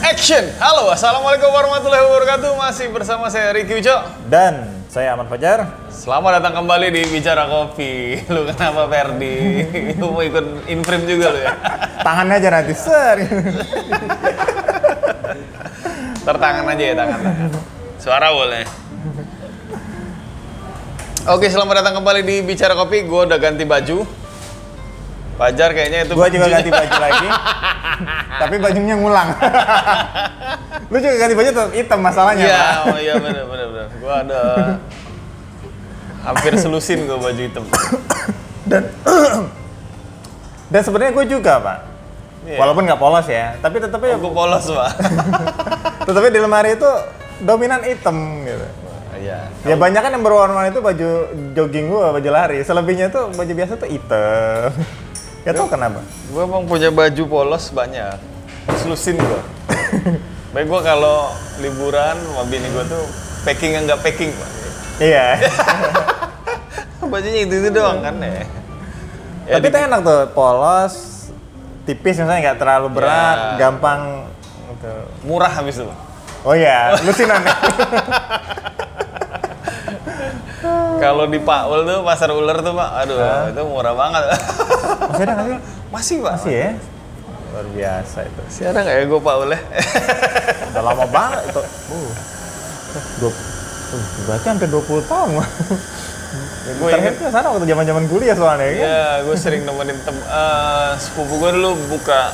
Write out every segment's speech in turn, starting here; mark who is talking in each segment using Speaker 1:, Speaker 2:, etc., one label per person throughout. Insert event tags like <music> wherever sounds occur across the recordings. Speaker 1: Action! Halo, Assalamualaikum warahmatullahi wabarakatuh. Masih bersama saya Ricky Uco.
Speaker 2: Dan saya Ahmad Fajar.
Speaker 1: Selamat datang kembali di Bicara Kopi. <laughs> Lu kenapa Ferdi? <laughs> lu mau ikut inframe juga lu ya?
Speaker 2: Tangannya aja nanti ser.
Speaker 1: Tertangan aja ya tangan. Suara boleh. Oke, selamat datang kembali di Bicara Kopi. Gue udah ganti baju. Fajar kayaknya itu
Speaker 2: Gua juga
Speaker 1: bajunya-
Speaker 2: ganti baju lagi. <laughs> Tapi bajunya <laughs> ngulang. Lu juga ganti baju tetap hitam masalahnya.
Speaker 1: Iya,
Speaker 2: Pak.
Speaker 1: oh iya benar benar benar. Gua ada hampir selusin gua baju hitam.
Speaker 2: Dan sebenarnya gue juga, Pak.
Speaker 1: Iya.
Speaker 2: Walaupun nggak polos ya, tapi tetapnya
Speaker 1: Gua polos,
Speaker 2: <laughs>
Speaker 1: Pak.
Speaker 2: tetapnya di lemari itu dominan hitam gitu.
Speaker 1: Iya.
Speaker 2: Ya banyak kan yang berwarna itu baju jogging gua, baju lari. Selebihnya tuh baju biasa tuh hitam. Gak tau kenapa.
Speaker 1: Gua emang punya baju polos banyak. Selusin gua. <laughs> Baik gua kalau liburan sama bini gua tuh packing yang nggak packing, Pak.
Speaker 2: Iya.
Speaker 1: Bajunya itu-itu doang kan ya. Ya,
Speaker 2: Tapi
Speaker 1: di-
Speaker 2: itu enak tuh, polos, tipis misalnya nggak terlalu berat,
Speaker 1: Ya.
Speaker 2: gampang gitu.
Speaker 1: murah habis itu, Pak.
Speaker 2: Oh iya, lu sih
Speaker 1: <laughs>
Speaker 2: nanya.
Speaker 1: Kalau di Paul tuh pasar ular tuh, Pak. Aduh, itu murah banget. <laughs>
Speaker 2: Masih ada nggak sih?
Speaker 1: Masih, Pak.
Speaker 2: Masih ya? Luar biasa itu.
Speaker 1: Masih ada nggak ya gue Paul ya?
Speaker 2: Udah lama banget itu. Uh. Dua, uh, berarti hampir 20 tahun.
Speaker 1: Gua
Speaker 2: Gue
Speaker 1: inget-
Speaker 2: Terakhir tuh sana waktu zaman-zaman kuliah soalnya kan.
Speaker 1: <laughs> Ya, gue sering nemenin tem eh, sepupu gue dulu buka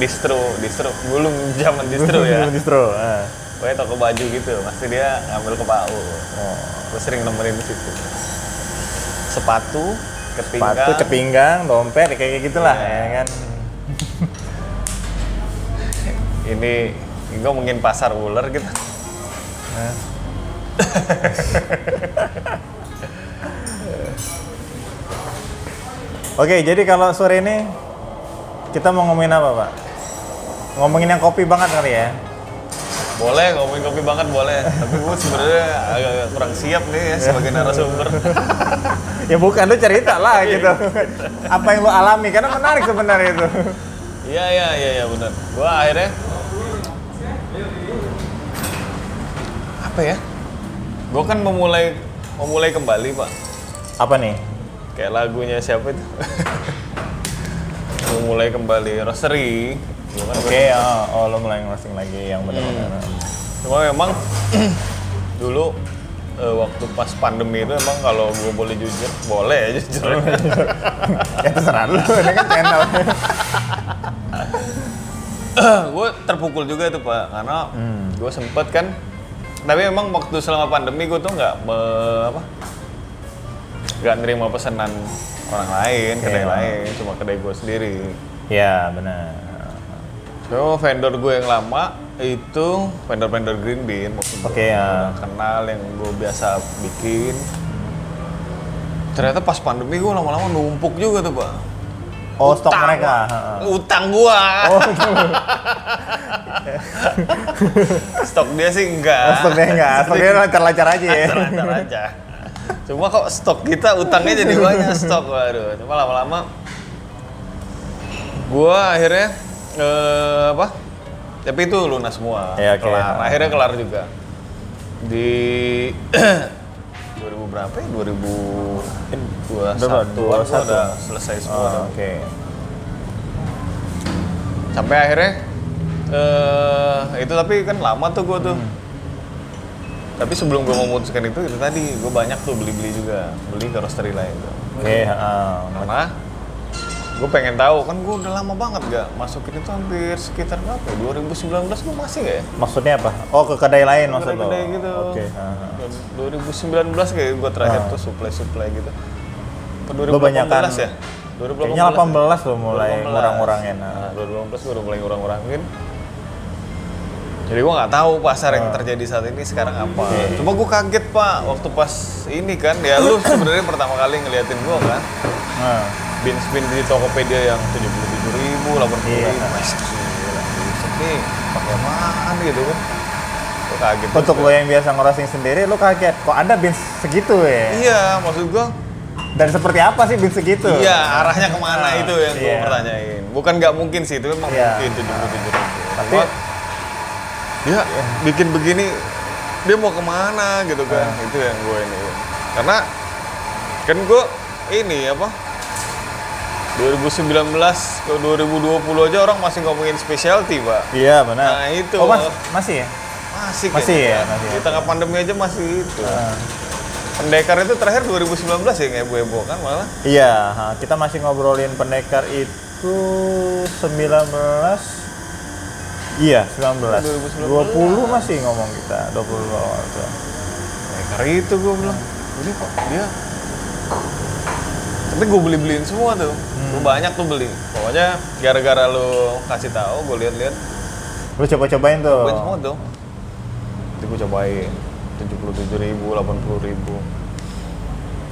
Speaker 1: distro, distro belum zaman distro
Speaker 2: <laughs>
Speaker 1: ya.
Speaker 2: Distro. ah.
Speaker 1: Pokoknya toko baju gitu, pasti dia ngambil ke PAU.
Speaker 2: Nah,
Speaker 1: Gue sering nemenin di situ. Sepatu, ketinggal.
Speaker 2: Sepatu, kepinggang, dompet, kayak gitulah
Speaker 1: Iya.
Speaker 2: ya kan.
Speaker 1: Ini gue mungkin pasar ular gitu.
Speaker 2: Oke, jadi kalau sore ini kita mau ngomongin apa, Pak? Ngomongin yang kopi banget kali ya.
Speaker 1: Boleh ngomongin kopi banget boleh, tapi gue sebenarnya agak kurang siap nih ya sebagai narasumber.
Speaker 2: ya bukan lu cerita lah gitu apa yang lu alami karena menarik sebenarnya itu
Speaker 1: Iya iya iya iya benar. Gua akhirnya apa ya? Gua kan memulai memulai kembali pak.
Speaker 2: apa nih
Speaker 1: Kayak lagunya siapa itu? memulai kembali roastery. Gua kan
Speaker 2: oke oh, oh, lu mulai ngerosting lagi yang benar-benar
Speaker 1: Cuma memang <clears throat> dulu eh, waktu pas pandemi itu emang kalau gue boleh jujur boleh ya jujur <clears throat>
Speaker 2: ya terserah lu ini kan channel
Speaker 1: gue terpukul juga tuh pak karena gue sempet kan tapi emang waktu selama pandemi gue tuh nggak me- apa nggak nerima pesanan orang lain kedai
Speaker 2: Iya.
Speaker 1: lain cuma kedai gue sendiri
Speaker 2: ya benar
Speaker 1: so vendor gue yang lama itu vendor-vendor green bean maksud gue.
Speaker 2: Oke, ya.
Speaker 1: Yang kenal yang gue biasa bikin ternyata pas pandemi gue lama-lama numpuk juga tuh pak
Speaker 2: oh stok
Speaker 1: Utang.
Speaker 2: mereka
Speaker 1: utang gua
Speaker 2: oh gitu.
Speaker 1: <laughs> stok dia sih enggak
Speaker 2: Oh, stoknya <laughs> enggak stoknya lancar-lancar aja ya
Speaker 1: lancar aja. Cuma kok stok kita utangnya jadi banyak stok waduh. Cuma lama-lama gua akhirnya eh, apa? Tapi itu lunas semua.
Speaker 2: Ya, oke.
Speaker 1: Kelar. Akhirnya kelar juga. Di <clears throat> 2000 berapa ya? 2021
Speaker 2: Berapa? 21.
Speaker 1: udah selesai semua.
Speaker 2: Oh,
Speaker 1: dong.
Speaker 2: oke
Speaker 1: Sampai akhirnya eh itu tapi kan lama tuh gua tuh. Tapi sebelum gua memutuskan itu, itu tadi gua banyak tuh beli-beli juga, beli ke roastery lain. Tuh.
Speaker 2: oke eh, heeh.
Speaker 1: Karena gue pengen tahu kan gue udah lama banget gak masukin itu hampir sekitar berapa? ya? 2019 gue masih gak ya?
Speaker 2: maksudnya apa oh ke kedai lain maksud lu
Speaker 1: Kedai-kedai gitu.
Speaker 2: oke eh, heeh.
Speaker 1: 2019 kayak gue terakhir
Speaker 2: Ah.
Speaker 1: tuh supply-supply gitu. Apa
Speaker 2: Lu banyakan-
Speaker 1: 2018 ya? 2018
Speaker 2: kayaknya 18 lo mulai
Speaker 1: 2018.
Speaker 2: ngurang-ngurangin
Speaker 1: Nah, 2018 gue udah mulai ngurang-ngurangin. Jadi gue nggak tahu pasar yang terjadi saat ini sekarang apa.
Speaker 2: Oke.
Speaker 1: Cuma gue kaget pak waktu pas ini kan ya lu sebenarnya pertama kali ngeliatin gue kan
Speaker 2: Heeh.
Speaker 1: bins bin di Tokopedia yang tujuh puluh tujuh ribu, delapan puluh
Speaker 2: Iya.
Speaker 1: ribu, ini pakai apaan gitu kan? Gue kaget.
Speaker 2: untuk
Speaker 1: juga.
Speaker 2: lo yang biasa ngerosting sendiri lu kaget kok ada bin segitu ya
Speaker 1: Iya, maksud gue
Speaker 2: Dan seperti apa sih bin segitu?
Speaker 1: Iya, arahnya kemana
Speaker 2: Nah,
Speaker 1: itu yang gue
Speaker 2: iya.
Speaker 1: pertanyain. Bukan nggak mungkin sih, itu memang
Speaker 2: Iya.
Speaker 1: mungkin tujuh puluh tujuh ribu.
Speaker 2: Tapi
Speaker 1: Mat, dia bikin begini dia mau kemana gitu kan
Speaker 2: Iya.
Speaker 1: itu yang gue ini karena kan gue ini apa 2019 ke 2020 aja orang masih ngomongin specialty pak
Speaker 2: iya
Speaker 1: Nah,
Speaker 2: benar.
Speaker 1: itu.
Speaker 2: Oh mas, masih ya?
Speaker 1: masih
Speaker 2: Masih
Speaker 1: kayaknya,
Speaker 2: ya,
Speaker 1: Pak.
Speaker 2: masih
Speaker 1: di
Speaker 2: ya.
Speaker 1: tengah pandemi aja masih itu
Speaker 2: Nah,
Speaker 1: pendekar itu terakhir 2019 ya nggak bu Ebo kan malah
Speaker 2: iya, ha, kita masih ngobrolin pendekar itu 19 Iya, 19.
Speaker 1: 2019.
Speaker 2: 20 masih ngomong kita, 20 awal tuh.
Speaker 1: pendekar itu gue bilang ini kok dia tapi gue beli beliin semua tuh Gua banyak tuh beli pokoknya gara-gara lo kasih tahu gue lihat-lihat
Speaker 2: Lu coba-cobain tuh.
Speaker 1: Cobain semua dong. Nanti gue cobain. 77 ribu, 80 ribu.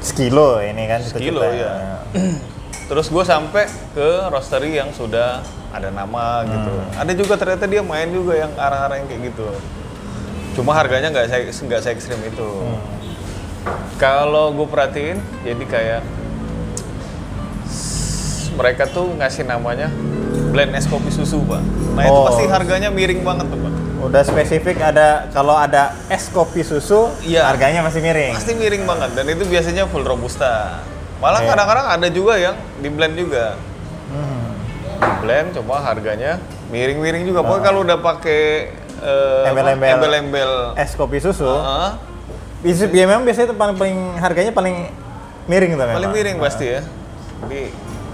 Speaker 2: Sekilo ini kan kita
Speaker 1: Sekilo,
Speaker 2: cobain.
Speaker 1: iya. <clears throat> Terus gue sampai ke roastery yang sudah ada nama gitu. Ada juga ternyata dia main juga yang arah-arah yang kayak gitu. Cuma harganya nggak saya nggak se ekstrim itu. Kalau gue perhatiin, jadi kayak s- mereka tuh ngasih namanya blend es kopi susu pak. Nah itu
Speaker 2: Oh.
Speaker 1: pasti harganya miring banget tuh pak.
Speaker 2: Udah spesifik ada kalau ada es kopi susu,
Speaker 1: Iya.
Speaker 2: harganya masih miring.
Speaker 1: pasti miring banget dan itu biasanya full robusta malah
Speaker 2: Iya.
Speaker 1: kadang-kadang ada juga yang di blend juga di blend cuma harganya miring-miring juga pokoknya kalau udah pakai eh, apa,
Speaker 2: Embel-embel. Eh.
Speaker 1: embel-embel
Speaker 2: Es kopi susu.
Speaker 1: Heeh,
Speaker 2: Bisa ya memang biasanya itu paling, paling harganya paling miring tuh memang.
Speaker 1: Iya. paling miring pasti ya jadi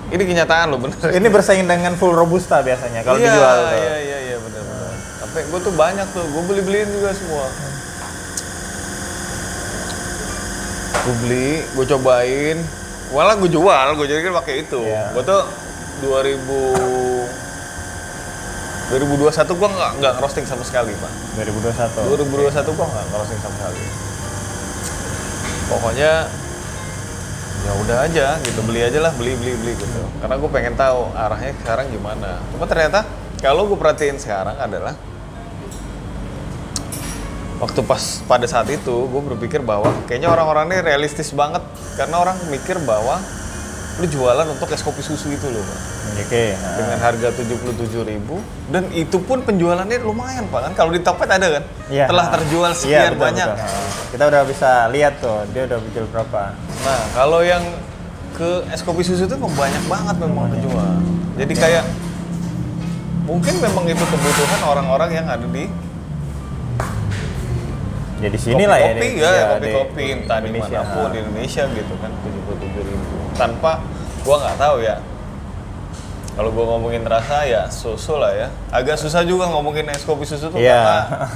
Speaker 1: ini kenyataan loh bener
Speaker 2: Ini bersaing dengan full robusta biasanya kalau
Speaker 1: iya,
Speaker 2: dijual tuh.
Speaker 1: Iya, iya, iya, benar benar. Tapi gue tuh banyak tuh, gue beli beliin juga semua. Gue beli, gue cobain, malah gue jual, gue jadi kan pakai itu.
Speaker 2: Iya.
Speaker 1: Gue tuh 2000 2021 gue nggak nggak roasting sama sekali pak.
Speaker 2: 2021.
Speaker 1: 2021 gua nggak crossing sama sekali. Pokoknya ya udah aja gitu beli aja lah beli beli beli gitu. Karena gue pengen tahu arahnya sekarang gimana. Cuma ternyata kalau gue perhatiin sekarang adalah waktu pas pada saat itu gue berpikir bahwa kayaknya orang-orang ini realistis banget karena orang mikir bahwa lu jualan untuk es kopi susu itu loh Pak
Speaker 2: Oke. nah.
Speaker 1: dengan harga 77.000 dan itu pun penjualannya lumayan Pak kan kalau di Tokped ada kan
Speaker 2: Iya.
Speaker 1: telah terjual sekian
Speaker 2: Iya, betul,
Speaker 1: banyak
Speaker 2: betul. Nah, Kita udah bisa lihat tuh dia udah jual berapa.
Speaker 1: nah kalau yang ke es kopi susu itu memang banyak banget memang penjual jadi
Speaker 2: Iya.
Speaker 1: kayak mungkin memang itu kebutuhan orang-orang yang ada di
Speaker 2: Ya di sinilah ya.
Speaker 1: kopi
Speaker 2: di-
Speaker 1: ya,
Speaker 2: iya,
Speaker 1: kopi kopi entah di
Speaker 2: Indonesia.
Speaker 1: manapun di Indonesia gitu kan 77.000 tanpa gua nggak tahu ya kalau gua ngomongin rasa ya susu lah ya agak susah juga ngomongin es kopi susu tuh
Speaker 2: Iya.
Speaker 1: karena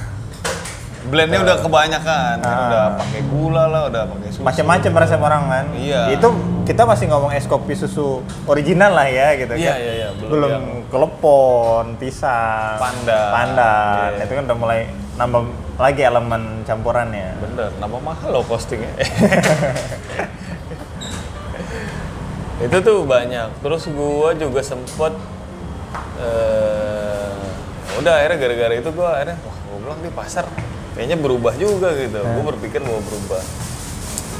Speaker 2: <laughs>
Speaker 1: blendnya udah kebanyakan kan
Speaker 2: Ah.
Speaker 1: udah pakai gula lah udah pakai susu
Speaker 2: Macam-macam resep orang kan.
Speaker 1: Iya.
Speaker 2: Itu kita masih ngomong es kopi susu original lah ya gitu
Speaker 1: Iya,
Speaker 2: kan.
Speaker 1: iya, iya. Belum
Speaker 2: Belum, kelepon, pisang,
Speaker 1: Pandan.
Speaker 2: pandan.
Speaker 1: Iya.
Speaker 2: Itu kan udah mulai nambah lagi elemen campurannya.
Speaker 1: bener nama mahal loh
Speaker 2: <laughs>
Speaker 1: costingnya itu tuh banyak terus gua juga sempet eh, udah akhirnya gara-gara itu gua akhirnya wah gua bilang di pasar kayaknya berubah juga gitu
Speaker 2: Nah.
Speaker 1: gua berpikir bahwa berubah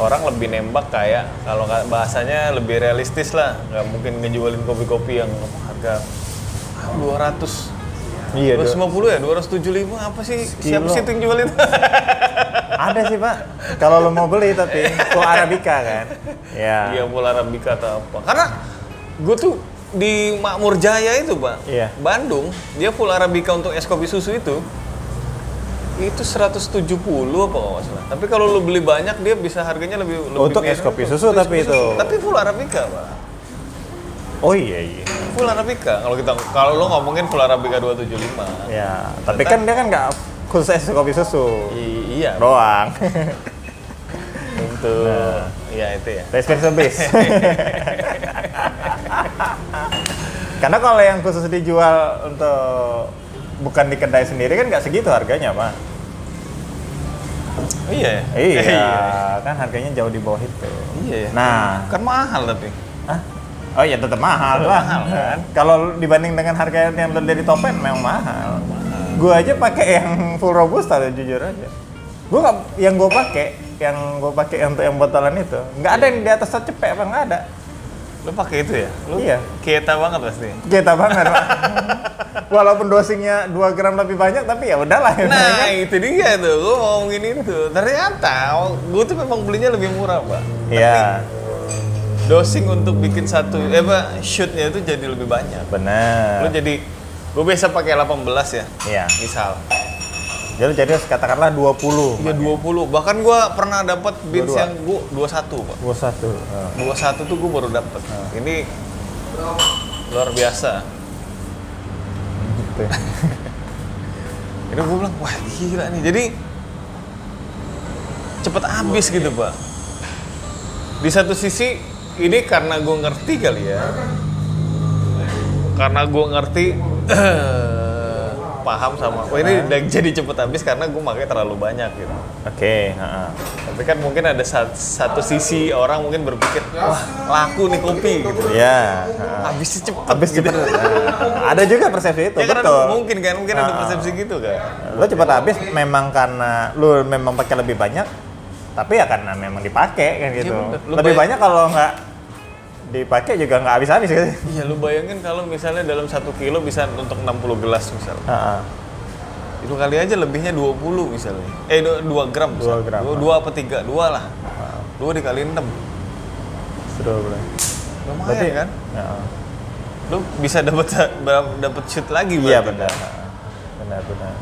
Speaker 1: orang lebih nembak kayak kalau nggak- bahasanya lebih realistis lah nggak mungkin ngejualin kopi-kopi yang harga ah, 200
Speaker 2: Iya, dua-
Speaker 1: 250 ya 275 apa sih siapa
Speaker 2: Sekilo.
Speaker 1: sih itu yang jualin
Speaker 2: Ada sih pak, kalau lo mau beli tapi full arabica kan.
Speaker 1: Iya
Speaker 2: Ya.
Speaker 1: full Arabica atau apa. Karena gue tuh di Makmur Jaya itu pak,
Speaker 2: Iya.
Speaker 1: Bandung, dia full Arabica untuk es kopi susu itu, itu 170 apa kalau nggak salah. Tapi kalau lu beli banyak dia bisa harganya lebih, lebih
Speaker 2: Untuk
Speaker 1: miring.
Speaker 2: es kopi
Speaker 1: Untuk
Speaker 2: susu
Speaker 1: es
Speaker 2: tapi
Speaker 1: kopi
Speaker 2: itu.
Speaker 1: Tapi full Arabica pak,
Speaker 2: Oh iya iya.
Speaker 1: full Arabica. Kalau kita kalau lu ngomongin full Arabica 275.
Speaker 2: Ya, tapi kan dia kan nggak khusus es kopi susu
Speaker 1: I- iya.
Speaker 2: doang.
Speaker 1: Untuk ya itu ya.
Speaker 2: Espresso base. Karena kalau yang khusus dijual untuk bukan di kedai sendiri kan nggak segitu harganya pak.
Speaker 1: Oh, iya. ya?
Speaker 2: Iya, kan harganya jauh di bawah itu.
Speaker 1: <laughs> Iya. ya?
Speaker 2: Nah,
Speaker 1: kan mahal tapi.
Speaker 2: Hah? Oh iya tetap mahal
Speaker 1: Tetap
Speaker 2: lah.
Speaker 1: mahal, kan?
Speaker 2: <laughs> Kalau dibanding dengan harga yang beli dari Topet memang mahal. Gua aja pakai yang full robusta tuh, jujur aja. Gua nggak- yang gua pakai, yang gua pakai untuk yang botolan itu, nggak ada yang di atas cepek apa nggak ada.
Speaker 1: Lu pakai itu ya? Lu
Speaker 2: Iya.
Speaker 1: Kieta banget pasti.
Speaker 2: Kita banget,
Speaker 1: <laughs>
Speaker 2: Pak. Walaupun dosingnya 2 gram lebih banyak, tapi ya udahlah. ya, Pak,
Speaker 1: Nah
Speaker 2: ya.
Speaker 1: itu dia tuh, gue mau ngomongin itu. Ternyata gue tuh memang belinya lebih murah pak.
Speaker 2: Iya,
Speaker 1: Dosing untuk bikin satu, eh pak, shootnya itu jadi lebih banyak. Lu
Speaker 2: bener.
Speaker 1: jadi, gue biasa pakai 18 ya,
Speaker 2: Iya.
Speaker 1: misal.
Speaker 2: Jadi jadi katakanlah 20.
Speaker 1: Iya 20, bahkan gue pernah dapat bins
Speaker 2: 22.
Speaker 1: yang gue 21 pak.
Speaker 2: 21. Heeh.
Speaker 1: 21 tuh gue baru dapat. Ini luar biasa.
Speaker 2: Gitu.
Speaker 1: <laughs> Itu gue bilang, wah gila nih. Jadi cepet habis gitu, Pak. Di satu sisi, ini karena gue ngerti kali ya. Karena gue ngerti, <clears throat> paham sama, wah ini jadi cepet habis karena gue pakai terlalu banyak gitu.
Speaker 2: Oke, heeh.
Speaker 1: Tapi kan mungkin ada sa- satu sisi orang mungkin berpikir, wah laku nih kopi gitu.
Speaker 2: Ya, heeh.
Speaker 1: Habisnya cepet.
Speaker 2: habis
Speaker 1: gitu.
Speaker 2: cepet. Nah, ada juga persepsi itu,
Speaker 1: Ya karena
Speaker 2: betul.
Speaker 1: mungkin kan, mungkin ada
Speaker 2: Ah.
Speaker 1: persepsi gitu kan.
Speaker 2: Lo cepet habis memang karena lu memang pakai lebih banyak, tapi ya karena memang dipakai kan gitu.
Speaker 1: bener. Iya, Lu
Speaker 2: lebih
Speaker 1: bayar-
Speaker 2: banyak kalau nggak dipakai juga nggak habis-habis gitu.
Speaker 1: Iya, lu bayangin kalau misalnya dalam satu kilo bisa untuk 60 gelas misalnya.
Speaker 2: Heeh.
Speaker 1: Itu kali aja lebihnya 20 misalnya. Eh, 2 gram misalnya.
Speaker 2: gram,
Speaker 1: Dua-
Speaker 2: ah.
Speaker 1: dua apa tiga? Dua lah. Dua dikali 6.
Speaker 2: Seru bro.
Speaker 1: Lumayan
Speaker 2: Berarti
Speaker 1: kan?
Speaker 2: Heeh.
Speaker 1: Lu bisa dapat dapat shoot lagi
Speaker 2: Iya
Speaker 1: berarti.
Speaker 2: benar. heeh. Benar benar.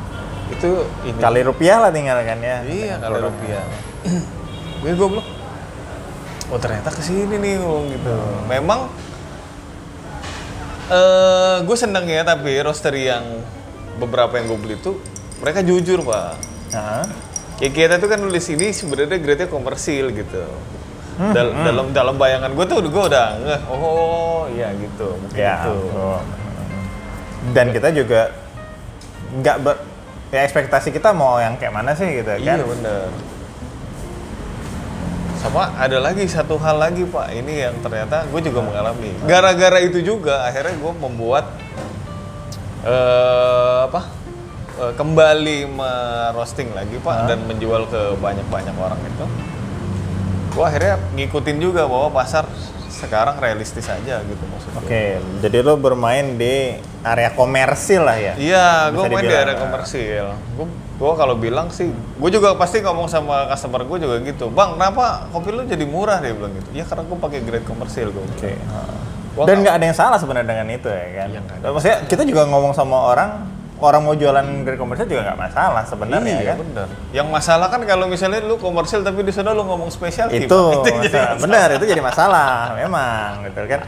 Speaker 1: Itu ini.
Speaker 2: Kali rupiah lah tinggal kan ya.
Speaker 1: Iya, kali
Speaker 2: Dengan produk.
Speaker 1: rupiah. <clears throat> Gue goblok. Oh, ternyata ke sini nih ngomong gitu.
Speaker 2: Hmm.
Speaker 1: Memang eh gue seneng ya tapi roster yang beberapa yang gue beli tuh mereka jujur, Pak.
Speaker 2: Heeh.
Speaker 1: Ya kita tuh kan nulis ini sebenarnya grade-nya komersil gitu. Dal-
Speaker 2: Hmm,
Speaker 1: Dalam dalam bayangan gue tuh gue udah ngeh, oh iya gitu, mungkin
Speaker 2: Ya.
Speaker 1: itu.
Speaker 2: betul. Dan kita juga nggak ber ya ekspektasi kita mau yang kayak mana sih gitu
Speaker 1: Iya
Speaker 2: kan?
Speaker 1: bener. Sama ada lagi satu hal lagi pak, ini yang ternyata gue juga mengalami. Gara-gara itu juga akhirnya gue membuat eh apa eh, kembali merosting lagi pak dan menjual ke banyak-banyak orang itu. Gue akhirnya ngikutin juga bahwa pasar sekarang realistis aja gitu maksudnya.
Speaker 2: Oke, jadi lo bermain di area komersil lah ya.
Speaker 1: Iya, gue
Speaker 2: Bisa
Speaker 1: main di
Speaker 2: dibilang,
Speaker 1: area
Speaker 2: nah.
Speaker 1: komersil. Gue gua kalau bilang sih, gue juga pasti ngomong sama customer gue juga gitu. Bang, kenapa kopi lu jadi murah? Dia bilang gitu. Ya karena gue pakai grade komersil gue.
Speaker 2: Oke.
Speaker 1: Gua
Speaker 2: Dan nggak ada yang salah sebenarnya dengan itu ya kan.
Speaker 1: Iya, nggak
Speaker 2: Maksudnya kita juga ngomong sama orang, orang mau jualan grade komersil juga nggak masalah sebenarnya
Speaker 1: Iya,
Speaker 2: kan.
Speaker 1: bener. Yang masalah kan kalau misalnya lu komersil tapi di sana lu ngomong spesial <laughs>
Speaker 2: Itu masalah. benar itu jadi masalah memang gitu kan.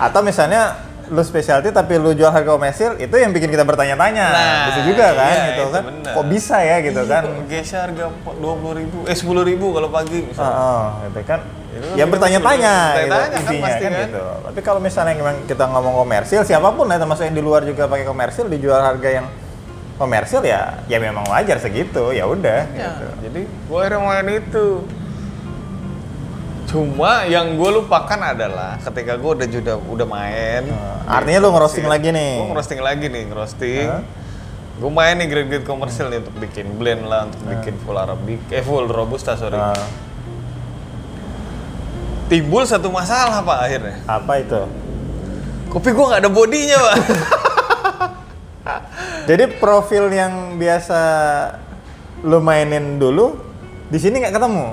Speaker 2: Atau misalnya lu specialty tapi lu jual harga komersil itu yang bikin kita bertanya-tanya.
Speaker 1: Nah,
Speaker 2: bisa juga kan
Speaker 1: iya,
Speaker 2: gitu
Speaker 1: itu
Speaker 2: kan.
Speaker 1: benar. Iya,
Speaker 2: Kok bisa ya gitu kan.
Speaker 1: Gesha harga dua puluh ribu, eh sepuluh ribu kalau pagi
Speaker 2: Oh,
Speaker 1: misalnya.
Speaker 2: gitu kan.
Speaker 1: Itu kan
Speaker 2: ya
Speaker 1: kita
Speaker 2: bertanya-tanya
Speaker 1: mesti
Speaker 2: gitu,
Speaker 1: bertanya-tanya kan
Speaker 2: intinya
Speaker 1: pasti
Speaker 2: kan
Speaker 1: kan.
Speaker 2: gitu. Tapi kalau misalnya memang kita ngomong komersil, siapapun ya termasuk yang di luar juga pakai komersil dijual harga yang komersil ya ya memang wajar segitu ya
Speaker 1: Ya,
Speaker 2: udah gitu.
Speaker 1: jadi gue akhirnya main itu. Cuma yang gue lupakan adalah ketika gue udah udah udah main.
Speaker 2: Nah, artinya lu ngerosting lagi nih.
Speaker 1: Gue ngerosting lagi nih, ngerosting.
Speaker 2: Hah?
Speaker 1: Gue main nih grade-grade komersil nih untuk bikin blend lah, untuk bikin full Arabic, eh full robusta sorry.
Speaker 2: Nah,
Speaker 1: Timbul satu masalah pak akhirnya.
Speaker 2: apa itu?
Speaker 1: Kopi gue nggak ada bodinya pak.
Speaker 2: <laughs> Jadi profil yang biasa lu mainin dulu di sini nggak ketemu.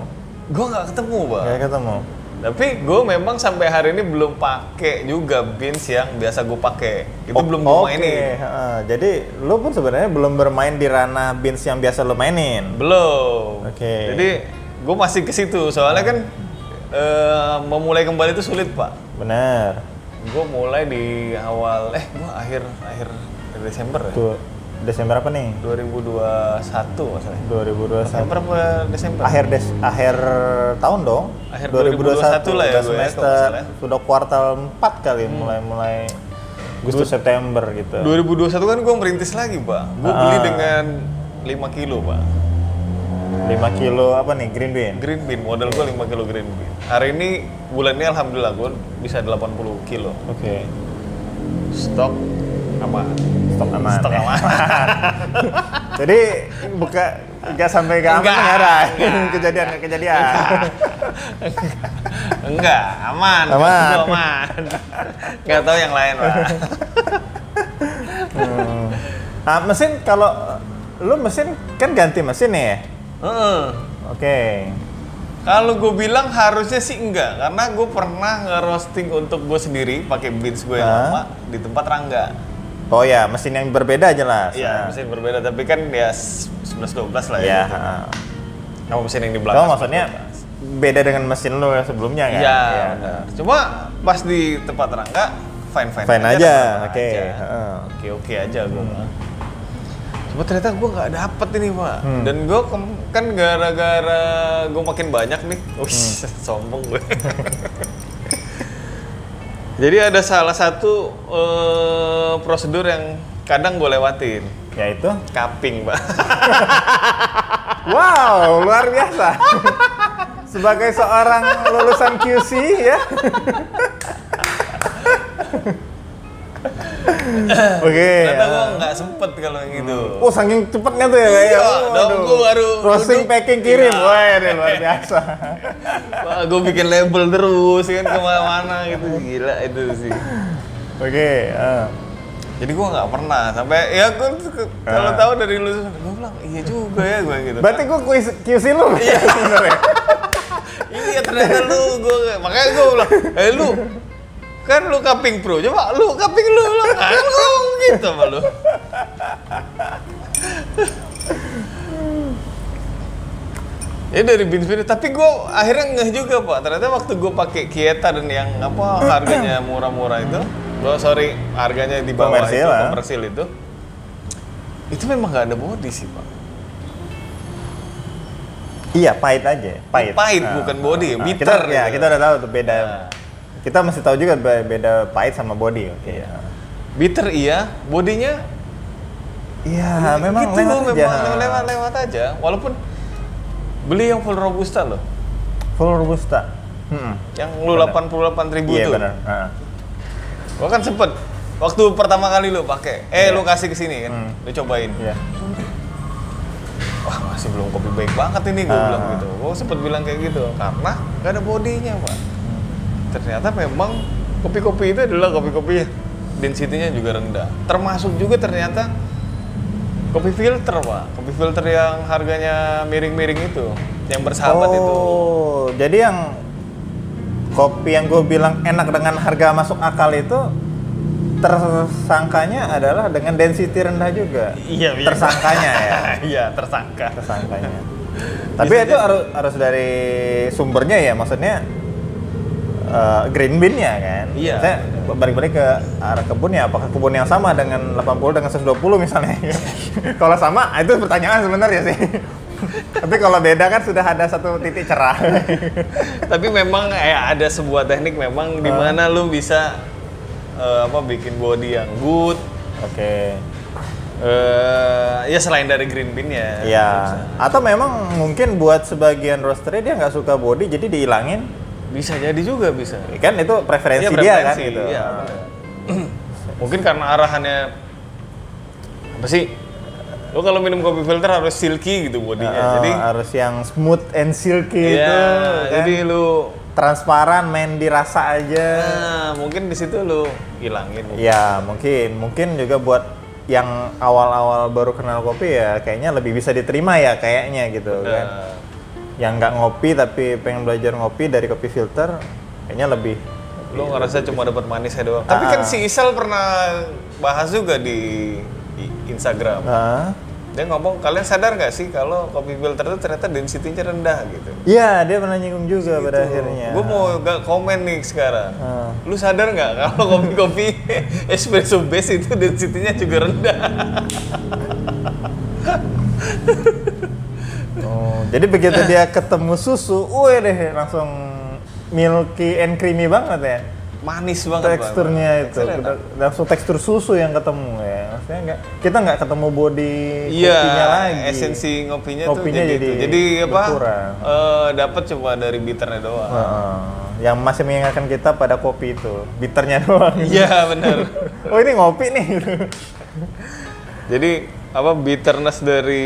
Speaker 1: gue nggak ketemu pak.
Speaker 2: Nggak ketemu.
Speaker 1: Tapi gue memang sampai hari ini belum pakai juga beans yang biasa gue pakai. Itu
Speaker 2: Oh,
Speaker 1: belum gue
Speaker 2: oke.
Speaker 1: mainin.
Speaker 2: Heeh, jadi lu pun sebenarnya belum bermain di ranah beans yang biasa lu mainin.
Speaker 1: Belum.
Speaker 2: Oke.
Speaker 1: Jadi gue masih ke situ soalnya kan eh, memulai kembali itu sulit pak.
Speaker 2: Benar.
Speaker 1: Gue mulai di awal eh gue akhir akhir Desember ya.
Speaker 2: Tuh, Desember apa nih?
Speaker 1: 2021 masalahnya.
Speaker 2: 2021.
Speaker 1: Desember apa Desember?
Speaker 2: Akhir des akhir tahun dong.
Speaker 1: Akhir 2021 lah ya
Speaker 2: udah
Speaker 1: gue ya, Hmm. kalau
Speaker 2: semester
Speaker 1: nggak salah.
Speaker 2: sudah kuartal 4 kali mulai-mulai Agustus September gitu.
Speaker 1: 2021 kan gue merintis lagi pak. Gue
Speaker 2: Ah.
Speaker 1: beli dengan 5 kilo pak.
Speaker 2: 5 kilo apa nih green bean?
Speaker 1: Green bean modal gue 5 kilo green bean. Hari ini bulan ini alhamdulillah gue bisa 80 kilo.
Speaker 2: Oke.
Speaker 1: Stok aman.
Speaker 2: Stok aman.
Speaker 1: Stok
Speaker 2: ya.
Speaker 1: aman.
Speaker 2: Jadi buka Enggak sampai enggak aman
Speaker 1: Enggak.
Speaker 2: enggak ada.
Speaker 1: Enggak.
Speaker 2: <laughs> Kejadian kejadian.
Speaker 1: Enggak, aman.
Speaker 2: Aman.
Speaker 1: Gua aman. Enggak tahu yang lain, Pak.
Speaker 2: Nah, mesin kalau lu mesin kan ganti mesin nih ya?
Speaker 1: Heeh.
Speaker 2: Oke.
Speaker 1: Kalau gue bilang harusnya sih enggak, karena gue pernah nge-roasting untuk gue sendiri pakai beats gue yang
Speaker 2: Hah?
Speaker 1: lama di tempat Rangga.
Speaker 2: Oh ya, mesin yang berbeda Nah, jelas.
Speaker 1: Iya, mesin berbeda tapi kan ya 11 12 lah ya.
Speaker 2: Ya.
Speaker 1: gitu. Sama mesin yang di belakang.
Speaker 2: Kamu maksudnya beda dengan mesin lu yang sebelumnya kan?
Speaker 1: Iya, benar. Cuma pas di tempat Rangga fine fine,
Speaker 2: Fine aja,
Speaker 1: teman-teman
Speaker 2: oke,
Speaker 1: aja.
Speaker 2: heeh.
Speaker 1: Oke oke aja gue. Cuma ternyata gue nggak dapet ini pak. Dan gue kem- kan gara-gara gue makin banyak nih. Wih, <laughs> sombong gue. Jadi ada salah satu eh, prosedur yang kadang gue lewatin.
Speaker 2: Ya itu.
Speaker 1: Cupping, pak.
Speaker 2: Wow, luar biasa. <laughs> Sebagai seorang lulusan QC ya. <laughs> Oke.
Speaker 1: <laughs>
Speaker 2: ya.
Speaker 1: Ternyata gue nggak sempet kalau yang gitu.
Speaker 2: Oh, saking cepetnya tuh ya kayaknya.
Speaker 1: Iya,
Speaker 2: Oh,
Speaker 1: dong,
Speaker 2: aduh.
Speaker 1: gua baru-
Speaker 2: Roasting,
Speaker 1: duduk.
Speaker 2: packing, kirim.
Speaker 1: Iya.
Speaker 2: Wah, ini luar
Speaker 1: <laughs>
Speaker 2: biasa.
Speaker 1: Wah, gue bikin label terus kan kemana-mana gitu gila itu sih.
Speaker 2: Oke. eh.
Speaker 1: Jadi gue nggak pernah sampai ya gue tuh ke- kalau tahu dari lu gue bilang iya juga ya gue gitu.
Speaker 2: Berarti gua kuis QC lu ya <laughs> sebenarnya.
Speaker 1: iya ternyata lu gue makanya gue bilang eh lu kan lu kaping pro coba lu kaping lu lu kan lu gitu sama lu. Ya dari bin Bin. tapi gue akhirnya ngeh juga pak. Ternyata waktu gue pakai Kieta dan yang apa harganya murah-murah itu, gue sorry harganya di bawah
Speaker 2: Komersil
Speaker 1: itu,
Speaker 2: lah.
Speaker 1: komersil itu, itu memang nggak ada body sih pak.
Speaker 2: Iya, pahit aja. Pahit.
Speaker 1: Pahit, bukan body,
Speaker 2: nah,
Speaker 1: bitter
Speaker 2: Kita, ya,
Speaker 1: gitu.
Speaker 2: kita udah tahu tuh beda.
Speaker 1: Nah.
Speaker 2: Kita mesti tahu juga be- beda pahit sama body. Oke.
Speaker 1: Iya. Bitter iya, bodinya
Speaker 2: Iya, memang
Speaker 1: gitu loh,
Speaker 2: lewat aja.
Speaker 1: memang lewat lewat aja. Walaupun beli yang full robusta loh,
Speaker 2: Full robusta. Hmm.
Speaker 1: yang lu delapan puluh delapan ribu
Speaker 2: Iya
Speaker 1: tuh.
Speaker 2: benar. Nah.
Speaker 1: Gua kan sempet waktu pertama kali lu pakai, eh lu kasih ke sini kan, lu cobain.
Speaker 2: Iya.
Speaker 1: Wah masih belum kopi baik banget ini gue
Speaker 2: Ah.
Speaker 1: bilang gitu. Gue sempet bilang kayak gitu karena nggak ada bodinya pak.
Speaker 2: Hmm.
Speaker 1: Ternyata memang kopi-kopi itu adalah kopi-kopi yang densitinya juga rendah. Termasuk juga ternyata kopi filter pak, kopi filter yang harganya miring-miring itu, yang bersahabat
Speaker 2: oh,
Speaker 1: itu.
Speaker 2: jadi yang kopi yang gue bilang enak dengan harga masuk akal itu tersangkanya adalah dengan density rendah juga.
Speaker 1: Iya, iya.
Speaker 2: Tersangkanya
Speaker 1: <laughs>
Speaker 2: ya.
Speaker 1: <laughs> Iya tersangka. <laughs>
Speaker 2: tersangkanya. Tapi itu harus harus dari sumbernya ya, maksudnya eh, green bean-nya kan.
Speaker 1: Iya.
Speaker 2: Saya balik-balik ke arah kebunnya, apakah kebun yang sama dengan 80 dengan 120 misalnya? <laughs> kalau sama, itu pertanyaan sebenarnya sih. <laughs> Tapi kalau beda kan sudah ada satu titik
Speaker 1: <laughs>
Speaker 2: cerah.
Speaker 1: Tapi memang eh, ada sebuah teknik memang
Speaker 2: Ah.
Speaker 1: di mana lu bisa eh, apa bikin body yang good.
Speaker 2: Oke.
Speaker 1: eh, ya selain dari green bean ya.
Speaker 2: Iya. Atau memang mungkin buat sebagian roastery dia nggak suka body, jadi dihilangin.
Speaker 1: Bisa jadi juga bisa.
Speaker 2: Kan itu preferensi,
Speaker 1: Iya,
Speaker 2: dia kan
Speaker 1: preferensi,
Speaker 2: gitu.
Speaker 1: iya, benar. Mungkin karena arahannya apa sih? Lo kalau minum kopi filter harus silky gitu bodinya.
Speaker 2: Oh,
Speaker 1: jadi
Speaker 2: harus yang smooth and
Speaker 1: ya,
Speaker 2: silky itu Iya, kan?
Speaker 1: jadi lu
Speaker 2: transparan main dirasa aja
Speaker 1: nah, mungkin di situ lu hilangin.
Speaker 2: ya mungkin mungkin juga buat yang awal-awal baru kenal kopi ya kayaknya lebih bisa diterima ya kayaknya gitu kan
Speaker 1: Nah,
Speaker 2: yang nggak ngopi tapi pengen belajar ngopi dari kopi filter kayaknya lebih
Speaker 1: lu ngerasa cuma dapat manisnya doang. Tapi
Speaker 2: Ah.
Speaker 1: kan si Isal pernah bahas juga di di Instagram.
Speaker 2: nah
Speaker 1: Dia ngomong kalian sadar nggak sih kalau kopi filter itu ternyata densitinya rendah gitu.
Speaker 2: ya dia pernah nyinggung juga pada akhirnya
Speaker 1: Gue Gitu. mau gak komen nih sekarang.
Speaker 2: Ah.
Speaker 1: Lu sadar nggak kalau kopi-kopi <laughs> espresso base itu densitinya juga rendah.
Speaker 2: Oh, jadi begitu dia ketemu susu wih deh langsung milky and creamy banget ya
Speaker 1: Manis banget. Bang.
Speaker 2: teksturnya itu
Speaker 1: Teksturnya enak.
Speaker 2: Udah- langsung tekstur susu yang ketemu ya maksudnya nggak kita nggak ketemu body
Speaker 1: Iya,
Speaker 2: kopinya lagi
Speaker 1: esensi ngopinya,
Speaker 2: Kopinya
Speaker 1: tuh jadi
Speaker 2: jadi
Speaker 1: itu. jadi apa?
Speaker 2: berkurang.
Speaker 1: eh, dapat cuma dari bitternya doang.
Speaker 2: Heeh. yang masih mengingatkan kita pada kopi itu bitternya <laughs> doang <laughs>
Speaker 1: Iya bener benar.
Speaker 2: oh ini ngopi nih
Speaker 1: jadi apa bitterness dari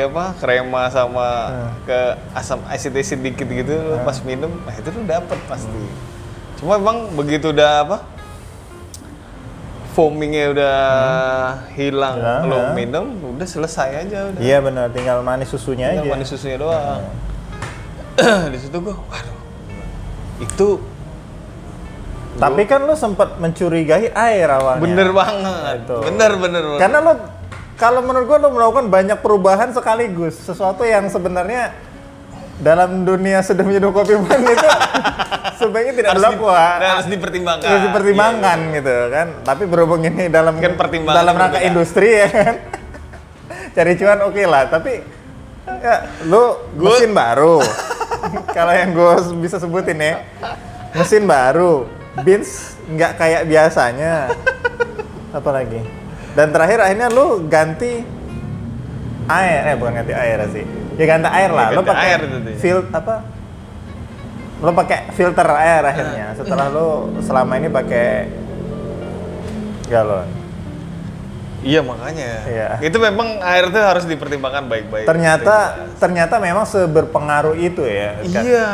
Speaker 1: apa krema sama
Speaker 2: Hmm.
Speaker 1: ke asam asid asid dikit gitu lu pas minum nah itu tuh dapet pasti cuma emang begitu udah apa foamingnya udah hilang
Speaker 2: Hilang,
Speaker 1: lu
Speaker 2: Hmm. ya.
Speaker 1: minum udah selesai aja udah
Speaker 2: <laughs> Iya benar, tinggal manis susunya
Speaker 1: tinggal
Speaker 2: aja.
Speaker 1: manis susunya doang
Speaker 2: Hmm.
Speaker 1: <clears throat> di situ gua waduh itu
Speaker 2: Tapi kan lu sempat mencurigai air awalnya.
Speaker 1: bener banget
Speaker 2: Nah, Itu. Kan
Speaker 1: bener bener bener.
Speaker 2: Karena lu kalau menurut gua lu melakukan banyak perubahan sekaligus, sesuatu yang sebenarnya dalam dunia sudah minum kopi pun
Speaker 1: <laughs>
Speaker 2: itu sebaiknya tidak
Speaker 1: harus, di- Nah,
Speaker 2: dilakukan.
Speaker 1: harus dipertimbangkan
Speaker 2: Harus Iya, dipertimbangkan gitu kan. Tapi berhubung ini dalam
Speaker 1: Kan pertimbangan
Speaker 2: dalam rangka
Speaker 1: berbeda.
Speaker 2: industri ya kan. Cari cuan oke lah, tapi ya, lu mesin baru. <laughs> Kalau yang gue bisa sebutin ya, mesin baru, beans nggak kayak biasanya. Apalagi. Dan terakhir akhirnya lu ganti air, eh bukan ganti air sih. Ya ganti air lah.
Speaker 1: Ya,
Speaker 2: Lu
Speaker 1: ganti
Speaker 2: pakai
Speaker 1: air tentunya.
Speaker 2: fil apa lo pakai filter air akhirnya
Speaker 1: Ah.
Speaker 2: setelah lo selama ini pakai galon
Speaker 1: Iya makanya.
Speaker 2: Iya.
Speaker 1: Itu memang air itu harus dipertimbangkan baik-baik.
Speaker 2: ternyata kan? ternyata memang seberpengaruh itu
Speaker 1: Iya.
Speaker 2: ya kan?
Speaker 1: Iya.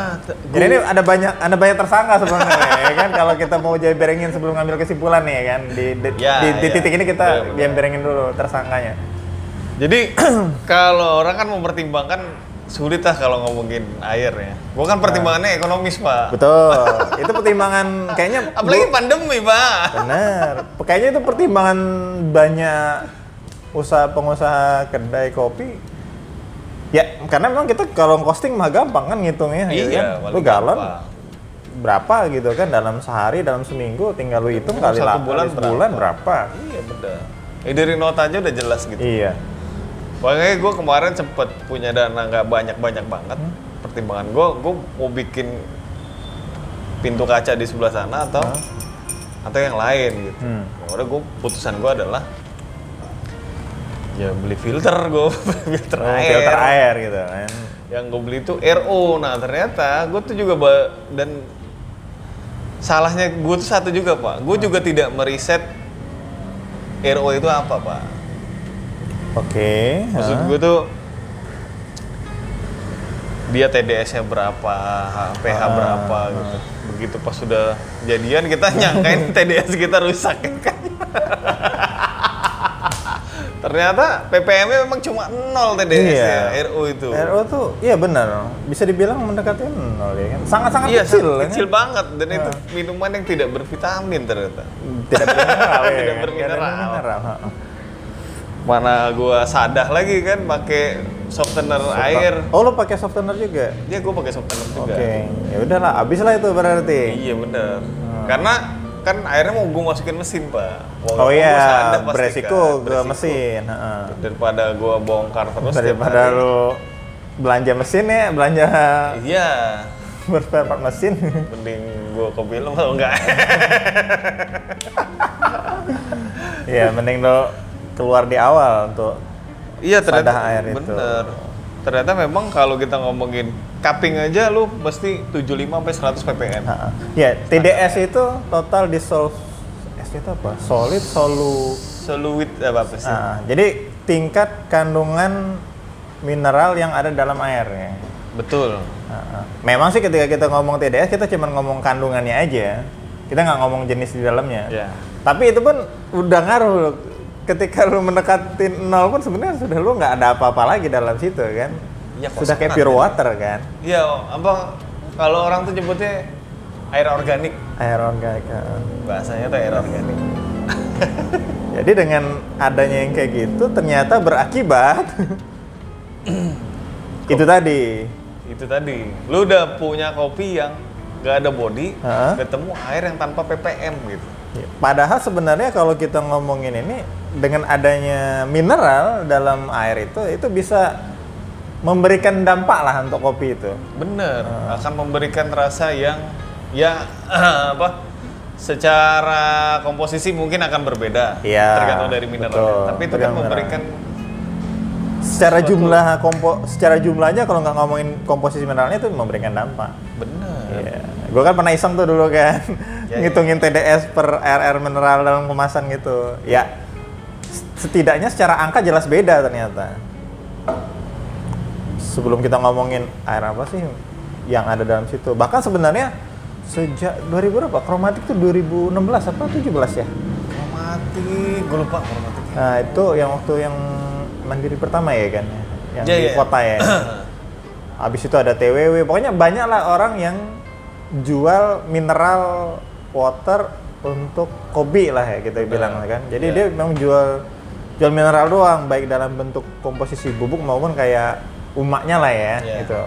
Speaker 2: jadi ini ada banyak ada banyak tersangka sebenarnya ya kan kalau kita mau jadi berengin sebelum ngambil kesimpulan nih ya kan di di,
Speaker 1: Ya,
Speaker 2: di- di
Speaker 1: ya.
Speaker 2: titik ini kita
Speaker 1: Benar, benar.
Speaker 2: yang berengin dulu tersangkanya
Speaker 1: Jadi <clears throat> kalau orang kan mempertimbangkan sulit lah kalau ngomongin air ya. Gua kan pertimbangannya ekonomis pak.
Speaker 2: Nah. betul itu pertimbangan kayaknya
Speaker 1: Apalagi pandemi pak.
Speaker 2: Benar. Kayaknya itu pertimbangan banyak usaha pengusaha kedai kopi. Ya, karena memang kita kalau costing mah gampang kan ngitungnya. gitu
Speaker 1: Iya,
Speaker 2: kan?
Speaker 1: paling
Speaker 2: Lu galon
Speaker 1: gampang.
Speaker 2: berapa gitu kan dalam sehari, dalam seminggu tinggal lu hitung
Speaker 1: Dalam
Speaker 2: kali
Speaker 1: satu
Speaker 2: lah.
Speaker 1: bulan
Speaker 2: Bulan, bulan berapa?
Speaker 1: Iya bener. Eh, dari notanya udah jelas gitu.
Speaker 2: Iya.
Speaker 1: Makanya gue kemarin sempet punya dana nggak banyak-banyak banget.
Speaker 2: Hmm?
Speaker 1: Pertimbangan gue, gue mau bikin pintu kaca di sebelah sana atau atau yang lain gitu.
Speaker 2: Hmm.
Speaker 1: Udah gue putusan gue adalah ya beli filter gue <laughs> filter
Speaker 2: Oh,
Speaker 1: air.
Speaker 2: Filter air gitu kan.
Speaker 1: Yang gue beli itu RO. Nah ternyata gue tuh juga ba- dan salahnya gue tuh satu juga pak. Gue juga tidak meriset RO itu apa pak.
Speaker 2: Oke.
Speaker 1: Maksud
Speaker 2: hah.
Speaker 1: gue tuh dia TDS-nya berapa, pH
Speaker 2: Ah.
Speaker 1: berapa gitu. Begitu pas sudah jadian
Speaker 2: <laughs>
Speaker 1: kita nyangkain TDS kita rusak ya kan. Ternyata PPM-nya memang cuma 0 TDS ya,
Speaker 2: Iya.
Speaker 1: RU itu.
Speaker 2: RO tuh, iya benar. Bisa dibilang mendekati nol ya kan. Sangat-sangat
Speaker 1: Iya,
Speaker 2: kecil. ya kan? Iya.
Speaker 1: kecil banget dan itu minuman yang tidak bervitamin ternyata. <laughs>
Speaker 2: Tidak bermineral. ya
Speaker 1: Tidak
Speaker 2: kan?
Speaker 1: bermineral.
Speaker 2: bermineral, ha.
Speaker 1: Mana gua sadah lagi kan pakai softener air.
Speaker 2: Oh, lo pakai softener juga?
Speaker 1: Dia gua pakai softener juga.
Speaker 2: Oke, ya udahlah, abis lah itu berarti.
Speaker 1: Iya benar.
Speaker 2: Ah.
Speaker 1: Karena kan airnya mau gue masukin mesin pak. Walaupun
Speaker 2: Oh
Speaker 1: gua
Speaker 2: iya,
Speaker 1: sadar pasti
Speaker 2: beresiko
Speaker 1: kan,
Speaker 2: ke
Speaker 1: beresiko.
Speaker 2: mesin. heeh.
Speaker 1: Daripada gue bongkar terus ya kan. tiap
Speaker 2: Daripada
Speaker 1: hari.
Speaker 2: lo belanja mesin ya,
Speaker 1: <laughs>
Speaker 2: belanja
Speaker 1: Iya,
Speaker 2: berspare part mesin.
Speaker 1: mending gue kopi lu kalau
Speaker 2: <laughs>
Speaker 1: enggak.
Speaker 2: ya, mending lo keluar di awal untuk
Speaker 1: iya ternyata
Speaker 2: Sadah air itu.
Speaker 1: bener. Ternyata memang kalau kita ngomongin cupping aja lu mesti 75 sampai 100 ppm.
Speaker 2: heeh. Ya, TDS itu total dissolved S itu apa? Solid solu.
Speaker 1: Soluit eh, apa apa sih?
Speaker 2: Ah, jadi tingkat kandungan mineral yang ada dalam air ya.
Speaker 1: Betul.
Speaker 2: Heeh. Memang sih ketika kita ngomong TDS kita cuma ngomong kandungannya aja. Kita nggak ngomong jenis di dalamnya.
Speaker 1: Iya.
Speaker 2: Tapi itu pun udah ngaruh loh. Ketika lu mendekati nol pun sebenarnya sudah lu nggak ada apa-apa lagi dalam situ kan.
Speaker 1: Iya, kok
Speaker 2: sudah kayak
Speaker 1: serat
Speaker 2: pure
Speaker 1: ya.
Speaker 2: water kan.
Speaker 1: Iya, apa kalau orang tuh nyebutnya air organik.
Speaker 2: Air organik. heeh.
Speaker 1: Bahasanya tuh air organik.
Speaker 2: Jadi dengan adanya yang kayak gitu ternyata
Speaker 1: <clears throat>
Speaker 2: berakibat itu tadi.
Speaker 1: itu tadi lu udah punya kopi yang gak ada body
Speaker 2: Hah?
Speaker 1: ketemu air yang tanpa ppm gitu
Speaker 2: Ya, Padahal sebenarnya kalau kita ngomongin ini dengan adanya mineral dalam air itu itu bisa memberikan dampak lah untuk kopi itu.
Speaker 1: bener akan memberikan rasa yang ya <clears throat> apa secara komposisi mungkin akan berbeda
Speaker 2: Iya,
Speaker 1: tergantung dari mineralnya
Speaker 2: betul.
Speaker 1: tapi itu kan
Speaker 2: Tergantung
Speaker 1: memberikan
Speaker 2: Secara
Speaker 1: Suatu-
Speaker 2: jumlah kompo, secara jumlahnya kalau nggak ngomongin komposisi mineralnya itu memberikan dampak.
Speaker 1: bener
Speaker 2: Iya. Gue kan pernah iseng tuh dulu kan
Speaker 1: Ya, ya.
Speaker 2: ngitungin TDS per RR mineral dalam kemasan gitu. Ya s- setidaknya secara angka jelas beda ternyata. Sebelum kita ngomongin air apa sih yang ada dalam situ. Bahkan sebenarnya sejak 2000 berapa? Kromatik tuh 2016 apa 17 ya?
Speaker 1: Kromatik, gue lupa kromatik.
Speaker 2: Nah, itu yang waktu yang mandiri pertama ya kan. Yang
Speaker 1: Iya,
Speaker 2: di
Speaker 1: iya.
Speaker 2: kota
Speaker 1: <clears throat>
Speaker 2: ya. Habis itu ada TWW. Pokoknya banyak lah orang yang jual mineral water untuk kopi lah ya kita bilang kan. Jadi
Speaker 1: Iya.
Speaker 2: dia memang jual jual mineral doang baik dalam bentuk komposisi bubuk maupun kayak umaknya lah ya
Speaker 1: Iya.
Speaker 2: gitu.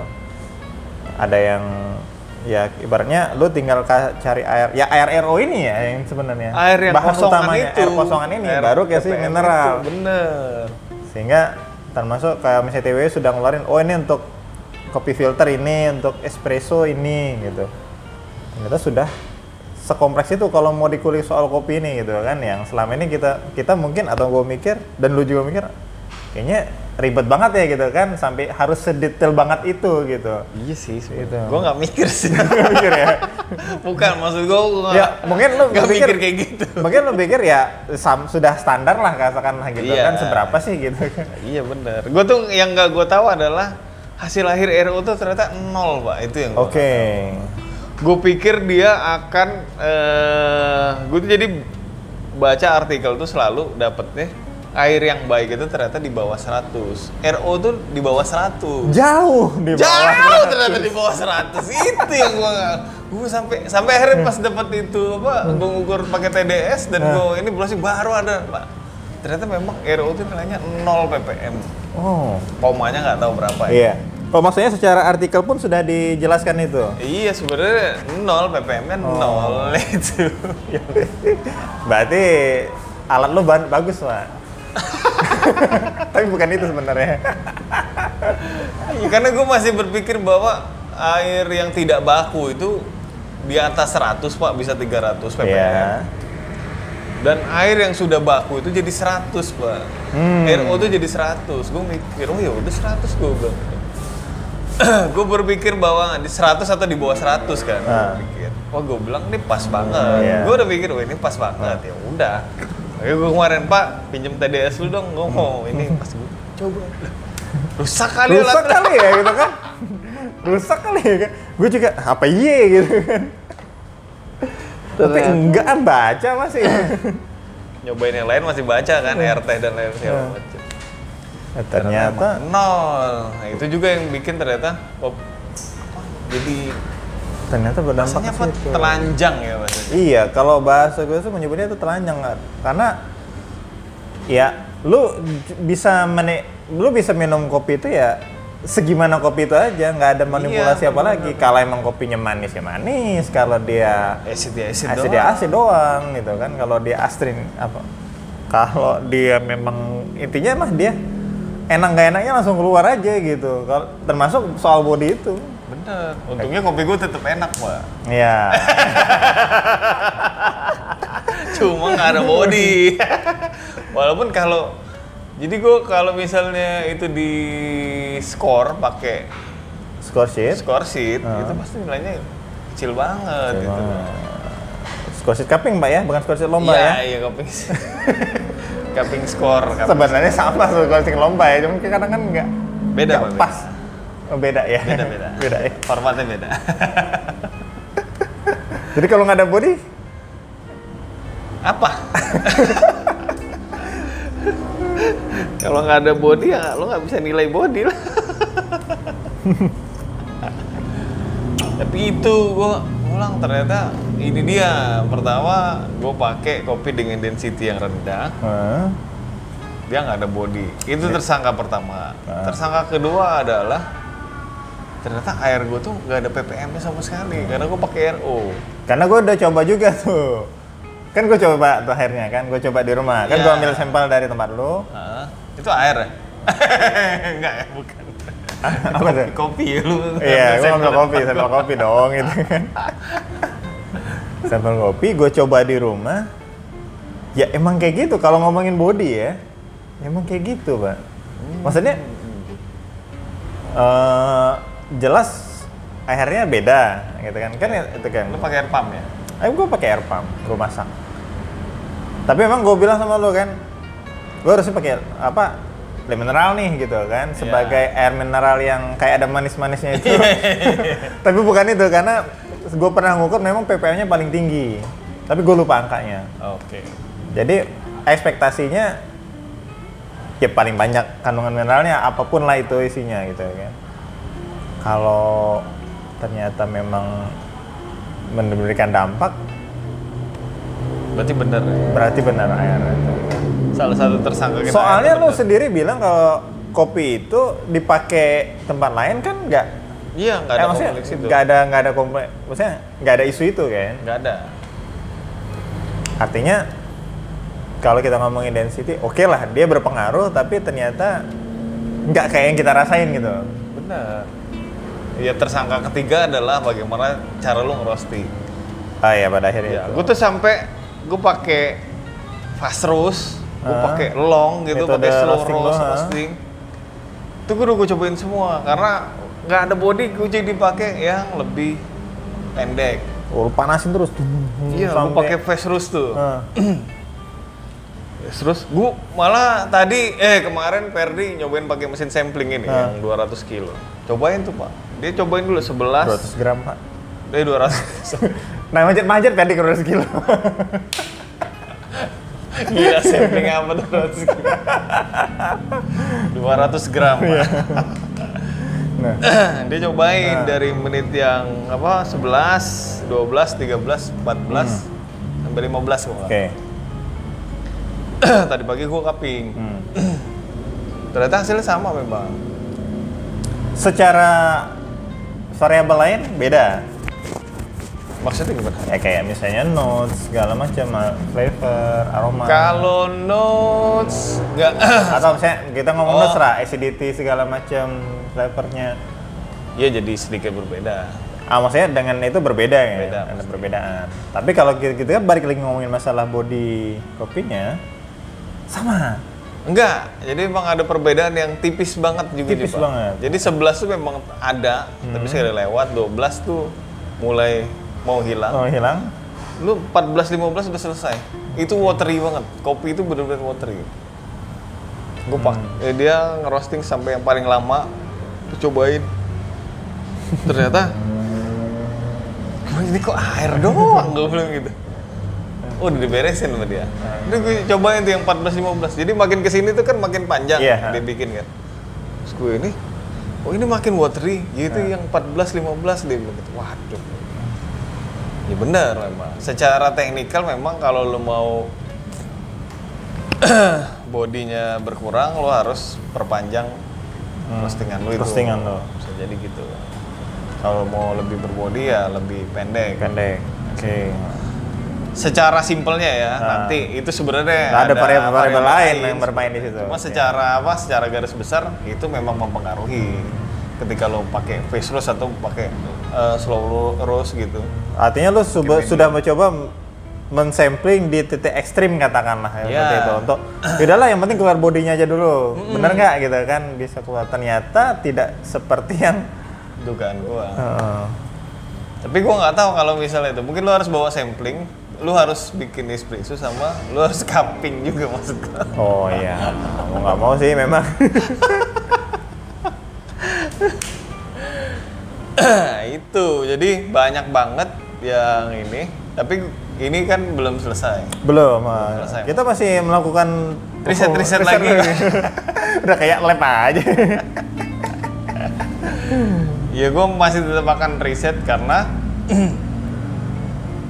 Speaker 2: Ada yang ya ibaratnya lu tinggal ka- cari air ya air RO ini ya yang sebenarnya
Speaker 1: Air yang
Speaker 2: bahan
Speaker 1: kosongan
Speaker 2: utamanya
Speaker 1: itu.
Speaker 2: air kosongan ini
Speaker 1: Air
Speaker 2: baru kasih
Speaker 1: TPM
Speaker 2: mineral
Speaker 1: itu, Bener.
Speaker 2: sehingga termasuk kayak misalnya TW sudah ngeluarin oh ini untuk kopi filter ini untuk espresso ini gitu ternyata sudah sekompleks itu kalau mau dikulik soal kopi ini gitu kan yang selama ini kita kita mungkin atau gue mikir dan lu juga mikir kayaknya ribet banget ya gitu kan sampai harus sedetail banget itu gitu
Speaker 1: Iya sih,
Speaker 2: Gitu. <laughs>
Speaker 1: gue nggak mikir sih.
Speaker 2: Gua mikir ya
Speaker 1: Bukan maksud gue, gue
Speaker 2: ya mungkin lu
Speaker 1: nggak
Speaker 2: berpikir-
Speaker 1: mikir kayak gitu.
Speaker 2: mungkin lu pikir ya sam- sudah standar lah katakan gitu
Speaker 1: Iya.
Speaker 2: kan seberapa sih gitu kan
Speaker 1: Iya bener. Gue tuh yang nggak gue tahu adalah hasil akhir RU tuh ternyata nol pak. Itu yang
Speaker 2: oke
Speaker 1: gue pikir dia akan. eh gue tuh jadi baca artikel tuh selalu dapetnya air yang baik itu ternyata di bawah 100. RO tuh di bawah 100.
Speaker 2: jauh di bawah
Speaker 1: Jauh ternyata di bawah 100 itu yang gua nggak- gua sampai sampai akhirnya pas dapat itu apa gua ngukur pakai TDS dan gua
Speaker 2: Nah.
Speaker 1: ini browsing baru ada Pak. Ternyata memang RO itu nilainya 0 ppm.
Speaker 2: oh
Speaker 1: Komanya nggak tahu berapa ya.
Speaker 2: Iya. Oh maksudnya secara artikel pun sudah dijelaskan itu.
Speaker 1: Iya sebenarnya 0 ppm-nya 0 kan <laughs> itu. Iya.
Speaker 2: <laughs> Berarti alat lo ban- bagus
Speaker 1: <laughs>
Speaker 2: pak. Tapi bukan itu sebenarnya.
Speaker 1: Ya, karena gua masih berpikir bahwa air yang tidak baku itu di atas 100 Pak bisa 300 ppm.
Speaker 2: Iya.
Speaker 1: Dan air yang sudah baku itu jadi 100, Pak.
Speaker 2: Hmm.
Speaker 1: RO itu jadi 100. Gue mikir, oh ya udah 100 gue bilang. <clears throat> gue berpikir bahwa di 100 atau di bawah 100 kan. Gua
Speaker 2: Ah.
Speaker 1: Pikir. Wah, gue bilang ini pas banget.
Speaker 2: iya.
Speaker 1: Gue udah pikir, oh ini pas banget. Ya udah. Oke, gue kemarin, Pak, pinjem TDS lu dong. Gue mau ini pas gue
Speaker 2: <laughs>
Speaker 1: coba. Lah, Rusak kali
Speaker 2: Hmm. Rusak
Speaker 1: alat.
Speaker 2: kali ya gitu kan. Rusak kali ya kan. Gue juga apa iya gitu kan. Tapi
Speaker 1: Ternyata.
Speaker 2: enggak ah, baca
Speaker 1: <laughs>
Speaker 2: masih.
Speaker 1: Nyobain yang lain masih baca kan,
Speaker 2: Iya.
Speaker 1: RT dan lain segala macam.
Speaker 2: Nah, ternyata
Speaker 1: Emang nol. Nah, itu juga yang bikin ternyata oh, jadi
Speaker 2: ternyata berdampak
Speaker 1: rasanya
Speaker 2: ke
Speaker 1: apa
Speaker 2: situ.
Speaker 1: telanjang ya maksudnya.
Speaker 2: Iya, kalau bahasa gue tuh menyebutnya itu telanjang Kak. karena ya lu j- bisa mene lu bisa minum kopi itu ya segimana kopi itu aja, nggak ada manipulasi
Speaker 1: Iya,
Speaker 2: apa lagi. Kalau emang kopinya manis ya manis, kalau dia
Speaker 1: Acid ya acid,
Speaker 2: asid
Speaker 1: doang.
Speaker 2: ya asid doang gitu kan. Kalau dia astrin apa? Kalau dia memang intinya mah dia enak nggak enaknya langsung keluar aja gitu. Kalau termasuk soal body itu.
Speaker 1: Bener. Untungnya kopi gue tetap enak pak. <laughs>
Speaker 2: Iya.
Speaker 1: Cuma nggak ada body. <laughs> Walaupun kalau jadi gue kalau misalnya itu di skor pakai
Speaker 2: Score sheet.
Speaker 1: skor sheet
Speaker 2: Ah.
Speaker 1: itu pasti nilainya kecil banget gitu.
Speaker 2: Score sheet cupping, Pak ya, bukan score sheet lomba ya.
Speaker 1: Iya, iya kaping <laughs> kaping skor. kaping-
Speaker 2: Sebenarnya sama sama closing lomba ya, cuma kadang kan nggak
Speaker 1: Beda,
Speaker 2: nggak
Speaker 1: Pak, beda.
Speaker 2: pas. Oh, beda ya.
Speaker 1: ya. Beda beda.
Speaker 2: <laughs> beda ya.
Speaker 1: Formatnya beda.
Speaker 2: Jadi kalau nggak ada body,
Speaker 1: apa? Kalau nggak ada body ya lo nggak bisa nilai body lah. Tapi itu gua ulang ternyata ini dia pertama gue pakai kopi dengan density yang rendah
Speaker 2: Hah?
Speaker 1: dia nggak ada body itu tersangka pertama tersangka kedua adalah ternyata air gue tuh nggak ada ppm nya sama sekali karena gue pakai RO
Speaker 2: karena gue udah coba juga tuh. Kan gue coba tuh akhirnya kan, gue coba di rumah. Kan
Speaker 1: Iya.
Speaker 2: gue ambil sampel dari tempat
Speaker 1: <laughs>
Speaker 2: lu.
Speaker 1: Hah? itu air ya? <laughs> Enggak ya, bukan.
Speaker 2: Apa tuh?
Speaker 1: Kopi ya lu.
Speaker 2: <laughs> Iya, gue
Speaker 1: Saya
Speaker 2: ambil
Speaker 1: malah-
Speaker 2: kopi, sampel kopi dong gitu kan. sampel kopi, gue coba di rumah. Ya emang kayak gitu, kalau ngomongin body ya, emang kayak gitu, Pak. Maksudnya, eh jelas akhirnya beda, gitu kan. Kan ya- itu kan,
Speaker 1: Lu pakai air
Speaker 2: <laughs>
Speaker 1: pump ya?
Speaker 2: eh gue pakai air pump, gue masak. Tapi emang gue bilang sama lo kan, Lu harusnya pakai apa? Air mineral nih gitu kan sebagai air mineral yang kayak ada manis-manisnya <laughs> itu. Tapi bukan itu karena gue pernah ngukur memang ppm-nya paling tinggi. Tapi gue lupa angkanya.
Speaker 1: Oke.
Speaker 2: Jadi ekspektasinya ya paling banyak kandungan mineralnya apapun lah itu isinya gitu kan. Kalau ternyata memang memberikan dampak
Speaker 1: Berarti bener ya?
Speaker 2: berarti benar air. itu.
Speaker 1: Salah satu tersangka kita.
Speaker 2: Soalnya
Speaker 1: akhirnya
Speaker 2: lu
Speaker 1: bener.
Speaker 2: sendiri bilang kalau kopi itu dipakai tempat lain kan nggak
Speaker 1: Iya, nggak
Speaker 2: eh,
Speaker 1: ada
Speaker 2: maksudnya
Speaker 1: konflik situ.
Speaker 2: nggak ada nggak ada komplek maksudnya nggak ada isu itu kan
Speaker 1: Nggak ada.
Speaker 2: artinya kalau kita ngomongin density oke lah dia berpengaruh tapi ternyata nggak kayak yang kita rasain gitu
Speaker 1: Bener. Ya tersangka ketiga adalah bagaimana cara lu ngerosting.
Speaker 2: ah ya pada akhirnya
Speaker 1: Ya,
Speaker 2: itu.
Speaker 1: gue tuh sampai gue pakai fast roast, gue
Speaker 2: Ah.
Speaker 1: pakai long gitu,
Speaker 2: Metode
Speaker 1: pakai slow
Speaker 2: roasting
Speaker 1: roast,
Speaker 2: doang.
Speaker 1: roasting. Itu gue udah gue cobain semua karena nggak ada body gue jadi pakai yang lebih pendek.
Speaker 2: Oh, lu panasin terus
Speaker 1: Iya, gue
Speaker 2: Sampai- eh,
Speaker 1: pakai fast roast tuh.
Speaker 2: Ah.
Speaker 1: Fast roast, gue malah tadi eh kemarin Ferdi nyobain pakai mesin sampling ini
Speaker 2: Ah.
Speaker 1: yang 200 kilo. Cobain tuh pak. Dia cobain dulu eh, 11
Speaker 2: 200 gram pak <laughs>
Speaker 1: dari 200.
Speaker 2: nah manjat-manjat kan di kurang kilo
Speaker 1: <laughs> Gila sampling apa tuh <laughs> 200 kilo? 200 gram. Pak.
Speaker 2: <laughs> nah
Speaker 1: <clears throat> dia cobain dari menit yang apa 11, 12, 13, 14 sampai 15 kok.
Speaker 2: oke
Speaker 1: nggak <clears throat> Tadi pagi gua kaping.
Speaker 2: Hmm.
Speaker 1: <clears throat> Ternyata hasilnya sama memang.
Speaker 2: secara variabel lain beda
Speaker 1: Maksudnya gimana?
Speaker 2: ya kayak misalnya notes segala macam ah, flavor aroma
Speaker 1: Kalau notes nggak <clears throat>
Speaker 2: atau misalnya kita ngomong
Speaker 1: Oh.
Speaker 2: notes lah acidity segala macam flavornya
Speaker 1: ya jadi sedikit berbeda.
Speaker 2: ah maksudnya dengan itu berbeda ya
Speaker 1: Beda,
Speaker 2: ada perbedaan tapi kalau kita, kita kan balik lagi ngomongin masalah body kopinya sama
Speaker 1: Enggak, jadi memang ada perbedaan yang tipis banget juga
Speaker 2: Tipis
Speaker 1: Pak.
Speaker 2: banget. Hmm.
Speaker 1: Jadi 11 tuh memang ada, tapi sekali lewat 12 tuh mulai mau hilang.
Speaker 2: oh hilang
Speaker 1: Lu 14 15 udah selesai. Itu watery banget. Kopi itu bener-bener watery. Gue pak, eh, dia ngerosting sampai yang paling lama. Terus cobain. Ternyata "Gua ini kok air doang gue bilang gitu. Oh, udah diberesin sama dia. Terus gue cobain tuh yang 14 15. Jadi makin ke sini tuh kan makin panjang
Speaker 2: Iya.
Speaker 1: dia bikin kan. Terus gue ini oh ini makin watery. Gitu yang 14 15 dia bilang gitu. Waduh. Ya benar memang. Secara teknikal memang kalau lo mau <clears throat> bodinya berkurang lo harus perpanjang
Speaker 2: Hmm.
Speaker 1: roastingan lo itu.
Speaker 2: roastingan lo.
Speaker 1: Bisa jadi gitu. Kalau mau lebih berbodi ya lebih pendek.
Speaker 2: pendek oke
Speaker 1: Secara simpelnya ya, nanti itu sebenarnya
Speaker 2: Nah, ada variabel-variabel lain
Speaker 1: variabel
Speaker 2: yang bermain di situ. Iya.
Speaker 1: Cuma
Speaker 2: Oke.
Speaker 1: secara apa? Secara garis besar itu memang mempengaruhi ketika lo pakai face roast atau pakai eh, slow roast gitu.
Speaker 2: artinya lu suba- sudah mencoba m- mensampling di titik ekstrim katakanlah
Speaker 1: Iya.
Speaker 2: ya, seperti itu untuk yaudahlah yang penting keluar bodinya aja dulu bener nggak gitu kan bisa keluar ternyata tidak seperti yang eh,
Speaker 1: Dugaan gua.
Speaker 2: Heeh.
Speaker 1: Tapi gua nggak tahu kalau misalnya itu. Mungkin lo harus bawa sampling, lo harus bikin espresso sama lo harus cupping juga <laughs> maksud gua.
Speaker 2: Oh iya, mau nggak mau sih memang. <laughs>
Speaker 1: Nah, itu. Jadi banyak banget yang ini. Tapi ini kan belum selesai.
Speaker 2: Belum. ah.
Speaker 1: selesai.
Speaker 2: Kita masih melakukan Oh,
Speaker 1: Riset-riset lagi.
Speaker 2: <laughs> Udah kayak lab aja.
Speaker 1: Ya gue masih tetap akan riset karena <clears throat>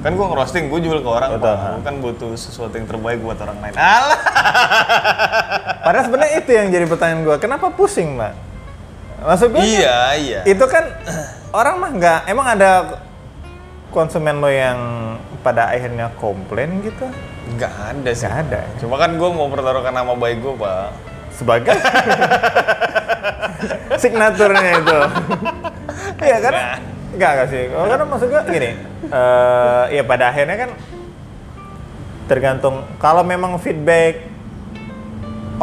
Speaker 1: kan gue ngerosting, gue jual ke orang,
Speaker 2: Betul,
Speaker 1: Pak. Gua kan butuh sesuatu yang terbaik buat orang lain. Ah, Alah,
Speaker 2: Padahal sebenarnya itu yang jadi pertanyaan gua. Kenapa pusing, Mbak? Maksud gue
Speaker 1: iya iya.
Speaker 2: itu kan orang mah nggak emang ada konsumen lo yang pada akhirnya komplain gitu
Speaker 1: Gak ada sih.
Speaker 2: nggak ada
Speaker 1: Cuma kan gue mau pertaruhkan nama baik gue pak.
Speaker 2: sebagai <laughs> signaturnya itu iya karena nggak nggak sih Oh, karena maksud gue gini eh ya pada akhirnya kan tergantung kalau memang feedback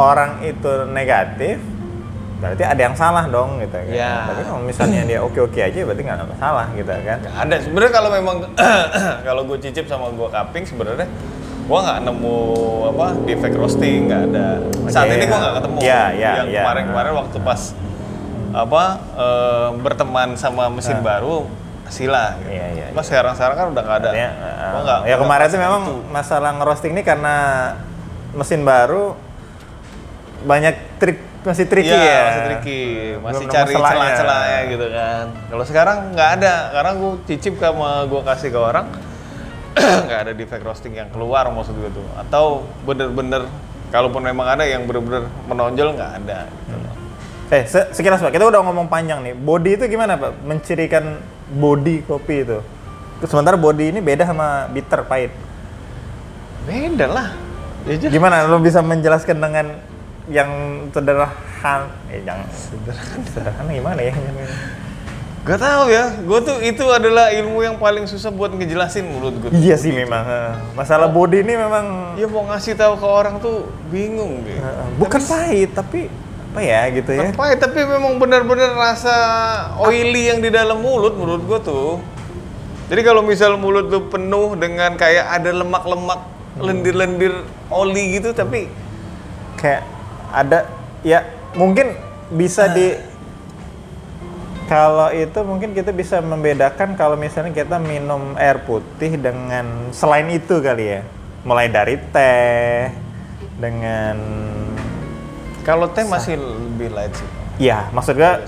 Speaker 2: orang itu negatif berarti ada yang salah dong gitu kan
Speaker 1: Ya.
Speaker 2: tapi kalau misalnya dia oke oke aja berarti nggak ada masalah gitu kan
Speaker 1: <clears throat> Gak ada. Sebenarnya kalau memang kalau gue cicip sama gue kaping sebenarnya gua nggak nemu apa defect roasting nggak ada saat
Speaker 2: Oke,
Speaker 1: ini gua
Speaker 2: ya.
Speaker 1: nggak ketemu
Speaker 2: Ya, ya,
Speaker 1: yang
Speaker 2: ya.
Speaker 1: kemarin-kemarin waktu pas apa eh, berteman sama mesin baru sila gitu.
Speaker 2: Ah. Iya, iya,
Speaker 1: Cuma sekarang-sekarang kan udah nggak ada
Speaker 2: Artinya,
Speaker 1: Gua
Speaker 2: eh,
Speaker 1: nggak
Speaker 2: ya
Speaker 1: nggak
Speaker 2: kemarin tuh
Speaker 1: pas-
Speaker 2: memang masalah ngerosting ini karena mesin baru banyak trik masih tricky
Speaker 1: Iya,
Speaker 2: ya.
Speaker 1: masih tricky masih
Speaker 2: Belum nemu
Speaker 1: cari
Speaker 2: celahnya.
Speaker 1: celah-celahnya gitu kan kalau sekarang nggak ada karena gue cicip sama gue kasih ke orang <clears throat> nggak ada defect roasting yang keluar maksud gue tuh atau bener-bener kalaupun memang ada yang bener-bener menonjol nggak ada gitu loh.
Speaker 2: Eh, se- sekilas Pak, kita udah ngomong panjang nih. Body itu gimana Pak? Mencirikan body kopi itu. Sementara body ini beda sama bitter pahit.
Speaker 1: beda lah Ya jujur
Speaker 2: Gimana lo bisa menjelaskan dengan yang sederhana? Eh, yang sederhana. Sederhana gimana ya?
Speaker 1: gak tau ya gue tuh itu adalah ilmu yang paling susah buat ngejelasin menurut gue
Speaker 2: iya sih memang. eh. Masalah body ini memang
Speaker 1: ya mau ngasih tahu ke orang tuh bingung deh
Speaker 2: Eh, bukan pahit tapi apa ya gitu ya
Speaker 1: Apa ya, tapi memang benar-benar rasa oily yang di dalam mulut menurut gua tuh. Jadi kalau misal mulut lu penuh dengan kayak ada lemak-lemak,
Speaker 2: Hmm.
Speaker 1: lendir-lendir oli gitu tapi
Speaker 2: kayak ada ya mungkin bisa di kalau itu mungkin kita bisa membedakan kalau misalnya kita minum air putih dengan selain itu kali ya mulai dari teh dengan
Speaker 1: kalau teh masih lebih light sih.
Speaker 2: ya maksud gua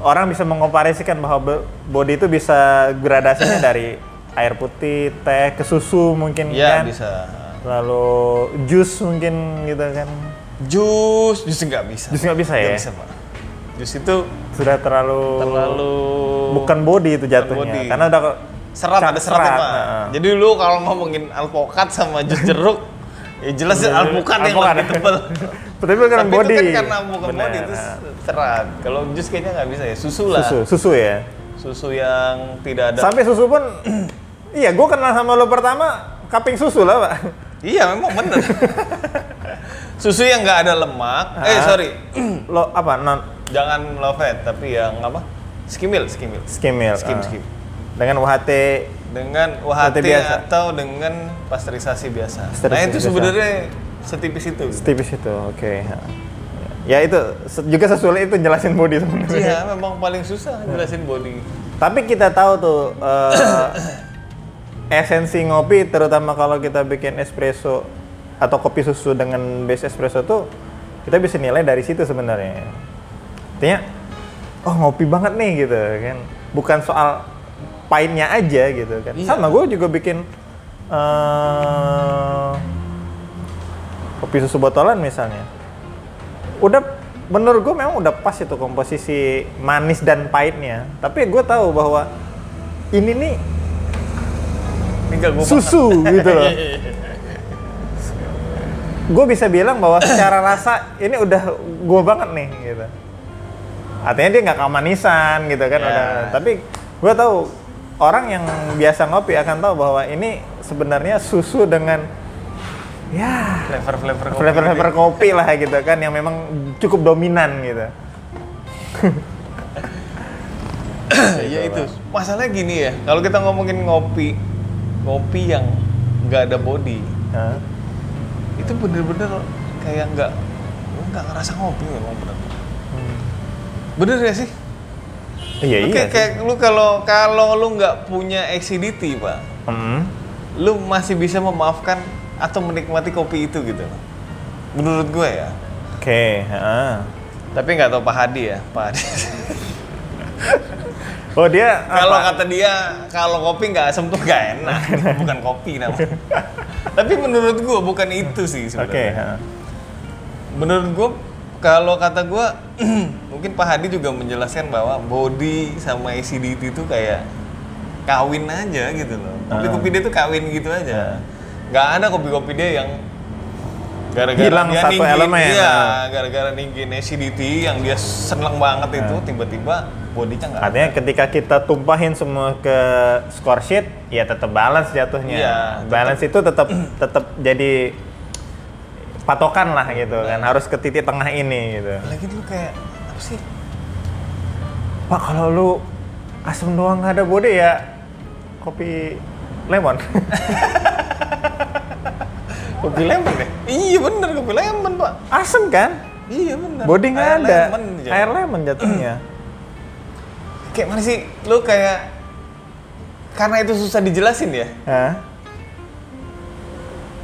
Speaker 2: orang bisa mengkomparasikan bahwa be- body itu bisa gradasinya dari air putih teh ke susu mungkin
Speaker 1: Iya
Speaker 2: kan
Speaker 1: bisa.
Speaker 2: lalu jus mungkin gitu kan
Speaker 1: Jus, jus nggak bisa.
Speaker 2: jus nggak bisa ya
Speaker 1: Nggak bisa, Pak. Jus itu
Speaker 2: sudah terlalu,
Speaker 1: terlalu
Speaker 2: bukan body itu jatuhnya
Speaker 1: body.
Speaker 2: karena udah
Speaker 1: serat ada seratnya Pak.
Speaker 2: heeh.
Speaker 1: Jadi lu kalau ngomongin alpukat sama jus jeruk ya jelas ya alpukat yang
Speaker 2: Iya, Alpukat.
Speaker 1: lebih
Speaker 2: <laughs>
Speaker 1: tebel.
Speaker 2: <laughs> tapi bukan
Speaker 1: Tapi
Speaker 2: body
Speaker 1: itu kan karena bukan
Speaker 2: Bener.
Speaker 1: body itu serat. Kalau jus kayaknya nggak bisa ya. Susu lah.
Speaker 2: susu
Speaker 1: Susu,
Speaker 2: susu ya
Speaker 1: yang tidak ada.
Speaker 2: sampai susu <clears throat> pun iya gue kenal sama lo pertama kaping susu lah <clears throat> pak
Speaker 1: Iya memang
Speaker 2: <laughs>
Speaker 1: bener. susu yang nggak ada lemak. Eh
Speaker 2: Ah.
Speaker 1: sorry,
Speaker 2: lo apa non
Speaker 1: jangan low fat tapi yang apa? Skimil, skimil.
Speaker 2: skimil
Speaker 1: Skim,
Speaker 2: ah.
Speaker 1: skim.
Speaker 2: dengan UHT
Speaker 1: Dengan UHT
Speaker 2: Seperti biasa.
Speaker 1: atau dengan pasteurisasi biasa. nah
Speaker 2: Pasteurisasi
Speaker 1: itu
Speaker 2: biasa.
Speaker 1: sebenarnya setipis itu.
Speaker 2: tipis itu oke ya itu se- juga sesulit itu jelasin body sebenarnya
Speaker 1: Iya memang paling susah jelasin body.
Speaker 2: Tapi kita tahu tuh eh, <coughs> esensi ngopi terutama kalau kita bikin espresso atau kopi susu dengan base espresso tuh kita bisa nilai dari situ sebenarnya. Artinya oh ngopi banget nih gitu kan. Bukan soal pahitnya aja gitu kan.
Speaker 1: Iya.
Speaker 2: Sama gue juga bikin eh, kopi susu botolan misalnya. Udah menurut gue memang udah pas itu komposisi manis dan pahitnya. Tapi gue tahu bahwa ini nih
Speaker 1: Ini nggak gua
Speaker 2: susu gitu <laughs> loh. Gue bisa bilang bahwa secara rasa ini udah gue banget nih gitu. Artinya dia nggak kamanisan gitu kan.
Speaker 1: Ya.
Speaker 2: udah- Tapi gue tahu orang yang biasa ngopi akan tahu bahwa ini sebenarnya susu dengan ya
Speaker 1: flavor flavor
Speaker 2: flavor-flavor kopi lah gitu kan yang memang cukup dominan gitu.
Speaker 1: ya itu masalahnya gini ya kalau kita ngomongin ngopi ngopi yang nggak ada body
Speaker 2: Nah,
Speaker 1: itu bener-bener kayak nggak lu nggak ngerasa ngopi memang bener bener ya sih
Speaker 2: Iya
Speaker 1: Lu kayak,
Speaker 2: iya.
Speaker 1: kayak lu kalau kalau lu nggak punya acidity pak
Speaker 2: sih. Hmm.
Speaker 1: lu masih bisa memaafkan atau menikmati kopi itu gitu loh. menurut gue ya
Speaker 2: Oke. heeh.
Speaker 1: tapi nggak tahu Pak Hadi ya Pak Hadi
Speaker 2: Oh dia
Speaker 1: Kalau
Speaker 2: apa?
Speaker 1: kata dia, kalau kopi nggak asam tuh nggak
Speaker 2: <laughs>
Speaker 1: enak. bukan kopi namanya. Tapi menurut gua bukan itu sih
Speaker 2: Oke.
Speaker 1: sebenarnya.
Speaker 2: heeh.
Speaker 1: Menurut gua, kalau kata gua, <clears throat> mungkin Pak Hadi juga menjelaskan bahwa body sama acidity itu kayak kawin aja gitu loh.
Speaker 2: Ah.
Speaker 1: Kopi-kopi dia tuh kawin gitu aja. Nggak ada kopi-kopi dia yang gara-gara
Speaker 2: Hilang
Speaker 1: dia
Speaker 2: satu
Speaker 1: ninggin-
Speaker 2: elemen.
Speaker 1: Iya,
Speaker 2: Ah.
Speaker 1: gara-gara ninggin acidity yang dia seneng banget
Speaker 2: Ah.
Speaker 1: itu, tiba-tiba bodinya nggak
Speaker 2: Artinya ketika kita tumpahin semua ke score sheet, ya tetap balance jatuhnya.
Speaker 1: Iya, tetap.
Speaker 2: balance itu tetap tetap jadi patokan lah gitu kan. Harus ke titik tengah ini gitu.
Speaker 1: lagi dulu kayak apa sih
Speaker 2: Pak kalau lu asam doang nggak ada body ya kopi lemon.
Speaker 1: <laughs> kopi lemon deh. Iya bener kopi lemon pak.
Speaker 2: Asem kan?
Speaker 1: Iya bener.
Speaker 2: Body nggak
Speaker 1: Air
Speaker 2: ada.
Speaker 1: lemon aja.
Speaker 2: Air lemon <clears throat> jatuhnya.
Speaker 1: Kayak mana sih? Lu kayak karena itu susah dijelasin ya.
Speaker 2: Hah?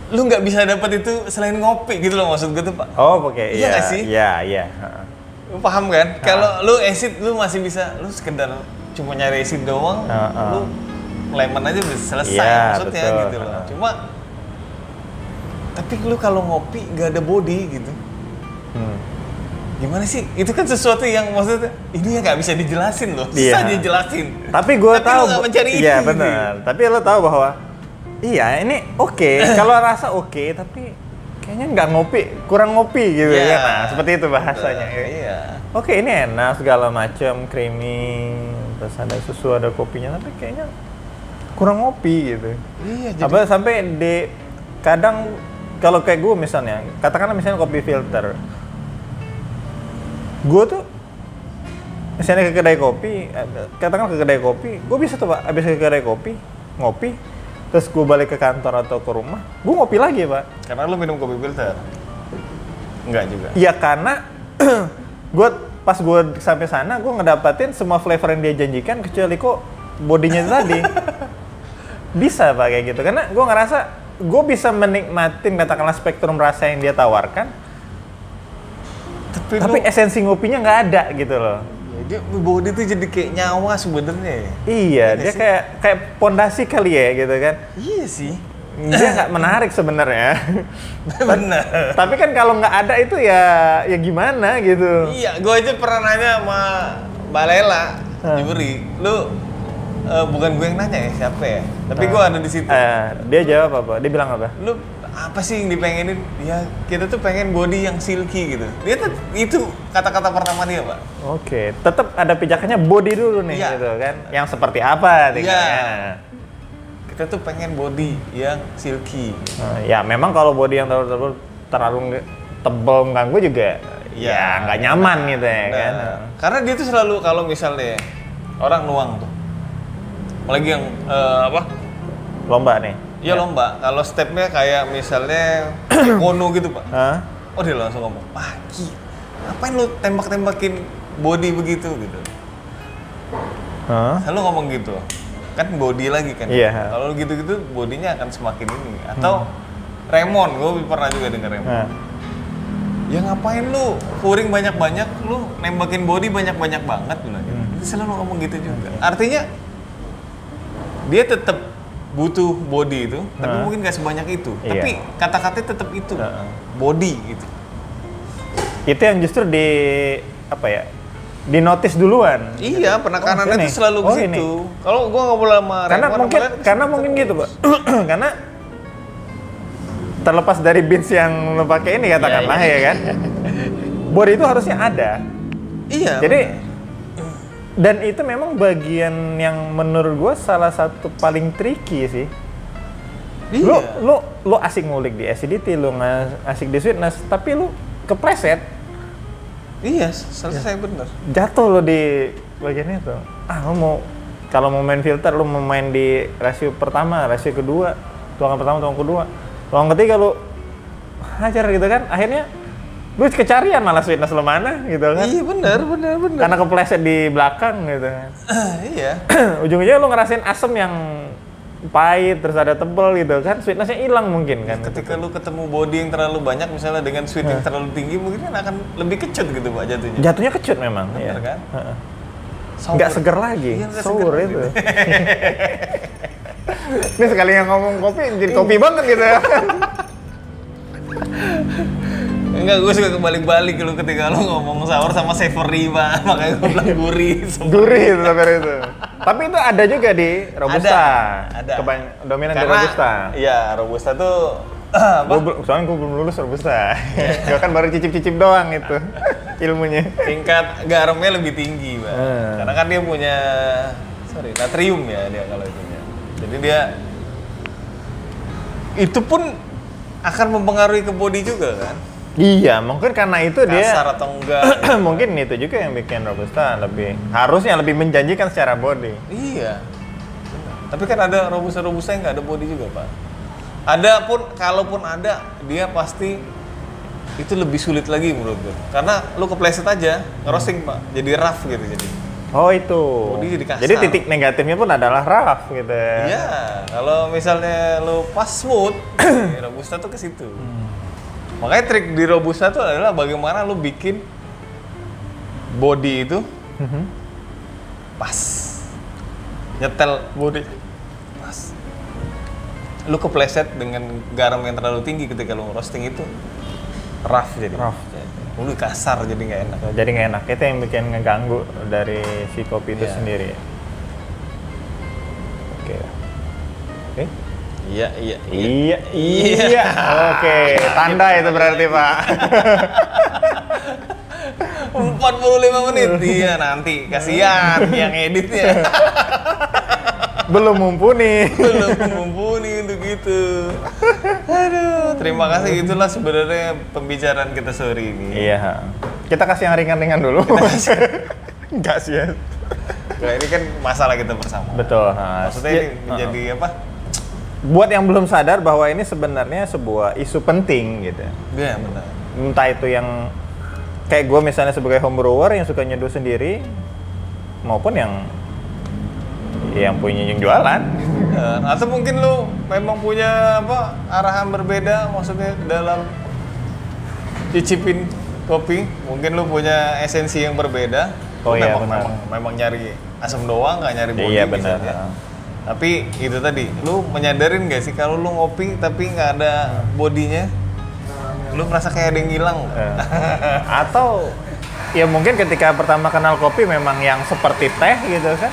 Speaker 1: Lu nggak bisa dapat itu selain ngopi gitu loh maksud gue tuh pak.
Speaker 2: Oh, oke.
Speaker 1: Iya nggak sih?
Speaker 2: Iya, iya. Heeh.
Speaker 1: Lu paham
Speaker 2: Ah.
Speaker 1: kan? Kalau lu acid lu masih bisa lu sekedar cuma nyari acid doang,
Speaker 2: Ah, ah.
Speaker 1: lu lemon aja bisa selesai
Speaker 2: Iya,
Speaker 1: maksudnya
Speaker 2: betul.
Speaker 1: gitu loh.
Speaker 2: Ah.
Speaker 1: Cuma tapi lu kalau ngopi gak ada body gitu.
Speaker 2: Hmm.
Speaker 1: Gimana sih? Itu kan sesuatu yang maksudnya ini ya nggak bisa dijelasin loh. Susah
Speaker 2: Iya.
Speaker 1: dijelasin.
Speaker 2: Tapi gue
Speaker 1: Tapi
Speaker 2: tahu.
Speaker 1: lu nggak mencari
Speaker 2: Iya
Speaker 1: itu, gitu.
Speaker 2: benar. Tapi lo tahu bahwa iya ini oke. <clears throat> Kalau rasa oke, tapi kayaknya nggak ngopi, kurang ngopi gitu
Speaker 1: Iya.
Speaker 2: kan. Nah, seperti itu bahasanya.
Speaker 1: Eh, iya.
Speaker 2: Oke ini enak segala macam, creamy, terus ada susu, ada kopinya, tapi kayaknya kurang ngopi gitu.
Speaker 1: Iya, jadi
Speaker 2: Apa sampai di kadang kalau kayak gue misalnya, katakanlah misalnya kopi filter, gue tuh misalnya ke kedai kopi, eh, katakanlah ke kedai kopi, gue bisa tuh pak, abis ke kedai kopi, ngopi, terus gue balik ke kantor atau ke rumah, gue ngopi lagi pak.
Speaker 1: karena lu minum kopi filter. Enggak juga.
Speaker 2: Ya karena <clears throat> gue pas gue sampai sana gue ngedapatin semua flavor yang dia janjikan kecuali kok bodinya itu
Speaker 1: <laughs>
Speaker 2: tadi bisa pak kayak gitu karena gue ngerasa gue bisa menikmatin katakanlah spektrum rasa yang dia tawarkan
Speaker 1: Tapi,
Speaker 2: tapi
Speaker 1: lu
Speaker 2: esensi ngopinya nggak ada gitu loh
Speaker 1: ya, dia body tuh jadi kayak nyawa sebenarnya ya.
Speaker 2: iya
Speaker 1: Iya
Speaker 2: dia
Speaker 1: sih.
Speaker 2: kayak kayak pondasi kali ya gitu kan
Speaker 1: Iya sih.
Speaker 2: dia
Speaker 1: <laughs>
Speaker 2: nggak menarik sebenarnya <laughs>
Speaker 1: Bener.
Speaker 2: tapi kan kalau nggak ada itu ya ya gimana gitu
Speaker 1: Iya, gue aja pernah nanya sama Mbak Lela,
Speaker 2: Hah.
Speaker 1: Juri, lu eh, bukan gue yang nanya ya siapa ya, tapi gue ada di situ.
Speaker 2: Eh, dia jawab apa dia bilang apa
Speaker 1: Lu apa sih yang dipengenin? Ya kita tuh pengen body yang silky gitu. Dia tuh itu kata-kata pertama dia pak.
Speaker 2: Oke, tetap ada pijakannya body dulu nih
Speaker 1: Iya.
Speaker 2: gitu kan. Yang seperti apa gitu kan? tinggalnya.
Speaker 1: Kita tuh pengen body yang silky.
Speaker 2: Nah, ya memang kalau body yang terlalu terlalu, terlalu nge- tebel mengganggu juga
Speaker 1: Iya.
Speaker 2: ya nggak nyaman gitu ya
Speaker 1: Nah,
Speaker 2: kan.
Speaker 1: Karena dia tuh selalu kalau misalnya orang nuang tuh, apalagi yang eh, apa?
Speaker 2: Lomba nih.
Speaker 1: Ya, lomba. Kalau stepnya kayak
Speaker 2: <coughs>
Speaker 1: misalnya kono gitu pak.
Speaker 2: Hah?
Speaker 1: Oh dia langsung ngomong, pagi ngapain lu tembak-tembakin body begitu gitu.
Speaker 2: Hah?
Speaker 1: Selalu ngomong gitu. Kan body lagi kan.
Speaker 2: Iya.
Speaker 1: Kalau lu gitu-gitu bodinya akan semakin ini. Atau Remon, gue pernah juga denger Remon.
Speaker 2: Nah. Hmm.
Speaker 1: Ya ngapain lu kuring banyak-banyak, lu nembakin body banyak-banyak banget lu gitu.
Speaker 2: Hmm.
Speaker 1: Dia selalu ngomong gitu juga. Artinya dia tetap butuh body itu, tapi
Speaker 2: Nah.
Speaker 1: mungkin gak sebanyak itu.
Speaker 2: Iya. Hmm.
Speaker 1: Tapi kata-katanya tetap itu.
Speaker 2: Nah.
Speaker 1: Body gitu.
Speaker 2: Itu yang justru di apa ya? Di notice duluan.
Speaker 1: Iya, penekanannya
Speaker 2: Oh,
Speaker 1: itu
Speaker 2: ini.
Speaker 1: selalu ke
Speaker 2: Oh,
Speaker 1: situ.
Speaker 2: ini.
Speaker 1: Kalau gua ngobrol sama
Speaker 2: karena
Speaker 1: Raymond,
Speaker 2: mungkin
Speaker 1: kemarin,
Speaker 2: karena mungkin gitu pak <clears throat> karena terlepas dari bins yang lo pakai ini katakanlah
Speaker 1: iya.
Speaker 2: ya kan body itu harusnya ada
Speaker 1: iya.
Speaker 2: jadi Hmm.
Speaker 1: benar.
Speaker 2: dan itu memang bagian yang menurut gue salah satu paling tricky sih
Speaker 1: iya.
Speaker 2: lu lu lu asik ngulik di acidity lu ngas- asik di sweetness tapi lu kepleset
Speaker 1: iya, selesai bener.
Speaker 2: jatuh lo di bagian itu ah lo mau kalau mau main filter lo mau main di rasio pertama rasio kedua tuangan pertama tuangan kedua tuangan ketiga lo hajar gitu kan akhirnya lu kecarian malah sweetness lo mana gitu kan
Speaker 1: Iya, bener, bener, bener.
Speaker 2: karena kepleset di belakang gitu kan
Speaker 1: Ah, iya.
Speaker 2: <clears throat> ujung-ujungnya lo ngerasain asem yang pahit terus ada tebel gitu kan sweetnessnya hilang mungkin kan
Speaker 1: Ketika lu ketemu body yang terlalu banyak, misalnya dengan sweet yang terlalu tinggi, mungkin kan akan lebih kecut gitu pak jatuhnya.
Speaker 2: jatuhnya kecut memang ya.
Speaker 1: Bener kan?
Speaker 2: Heeh.
Speaker 1: Sour.
Speaker 2: nggak seger lagi,
Speaker 1: Iya, nggak
Speaker 2: sour
Speaker 1: seger.
Speaker 2: itu. <laughs> Ini sekali yang ngomong kopi, jadi kopi banget gitu <laughs> ya.
Speaker 1: Enggak, gue suka kebalik-balik lu ketika lu ngomong sour sama savory pak, <laughs> makanya gue bilang Iya. gurih. semua.
Speaker 2: Gurih itu sampai itu. Tapi itu ada juga di Robusta.
Speaker 1: Ada, ada.
Speaker 2: Kebany- dominan di
Speaker 1: Karena,
Speaker 2: Robusta.
Speaker 1: Iya, robusta tuh ah, apa?
Speaker 2: Gua belum- soalnya gue belum lulus Robusta. <laughs> gue kan baru cicip-cicip doang
Speaker 1: <laughs>
Speaker 2: itu ilmunya.
Speaker 1: tingkat garamnya lebih tinggi pak
Speaker 2: Hmm.
Speaker 1: karena kan dia punya sorry natrium ya dia kalau itu jadi dia itu pun akan mempengaruhi ke body juga kan
Speaker 2: Iya, mungkin karena itu dia
Speaker 1: kasar atau enggak
Speaker 2: <clears throat> mungkin itu juga yang bikin Robusta lebih harusnya lebih menjanjikan secara body.
Speaker 1: iya Benar. tapi kan ada robusta robusta yang nggak ada body juga pak Ada pun, kalaupun ada, dia pasti itu lebih sulit lagi menurut gue. Karena lu kepleset aja, ngerosting pak, jadi rough gitu jadi.
Speaker 2: Oh itu.
Speaker 1: dia jadi kasar.
Speaker 2: titik negatifnya pun adalah raf gitu ya.
Speaker 1: Iya, kalau misalnya lu pas smooth, ya, robusta tuh ke situ. Makanya trik di robusta tuh adalah bagaimana lu bikin body itu
Speaker 2: Mhm.
Speaker 1: pas. Nyetel body pas. Lu kepleset dengan garam yang terlalu tinggi ketika lu roasting itu rough jadi.
Speaker 2: Rough.
Speaker 1: Lu kasar jadi nggak enak.
Speaker 2: Jadi nggak enak itu yang bikin ngeganggu dari si kopi itu
Speaker 1: Iya.
Speaker 2: sendiri. Oke. Oke.
Speaker 1: Iya, iya,
Speaker 2: Iya. Iya. Oke. Tanda itu berarti <laughs> pak.
Speaker 1: 45 menit. Iya, nanti kasihan yang editnya.
Speaker 2: Belum mumpuni.
Speaker 1: belum mumpuni untuk itu. Aduh, terima kasih itulah sebenarnya pembicaraan kita sore ini.
Speaker 2: Iya. Kita kasih yang ringan-ringan dulu. <laughs> Enggak sih ya.
Speaker 1: Nah, ini kan masalah kita bersama.
Speaker 2: Betul. Nah,
Speaker 1: Maksudnya
Speaker 2: ya-
Speaker 1: ini menjadi apa?
Speaker 2: buat yang belum sadar bahwa ini sebenarnya sebuah isu penting gitu.
Speaker 1: Ya, benar.
Speaker 2: Entah itu yang kayak gue misalnya sebagai homebrewer yang suka nyeduh sendiri maupun yang yang punya yang jualan.
Speaker 1: Eh, atau mungkin lu memang punya apa arahan berbeda maksudnya dalam cicipin kopi mungkin lu punya esensi yang berbeda
Speaker 2: Oh
Speaker 1: Lu
Speaker 2: iya,
Speaker 1: memang,
Speaker 2: benar.
Speaker 1: memang memang nyari asam doang nggak nyari body
Speaker 2: Iya,
Speaker 1: bisa
Speaker 2: benar.
Speaker 1: aja. tapi itu tadi lu menyadarin gak sih kalau lu ngopi tapi nggak ada bodinya lu merasa kayak ada yang hilang nggak?
Speaker 2: Eh, atau ya mungkin ketika pertama kenal kopi memang yang seperti teh gitu kan.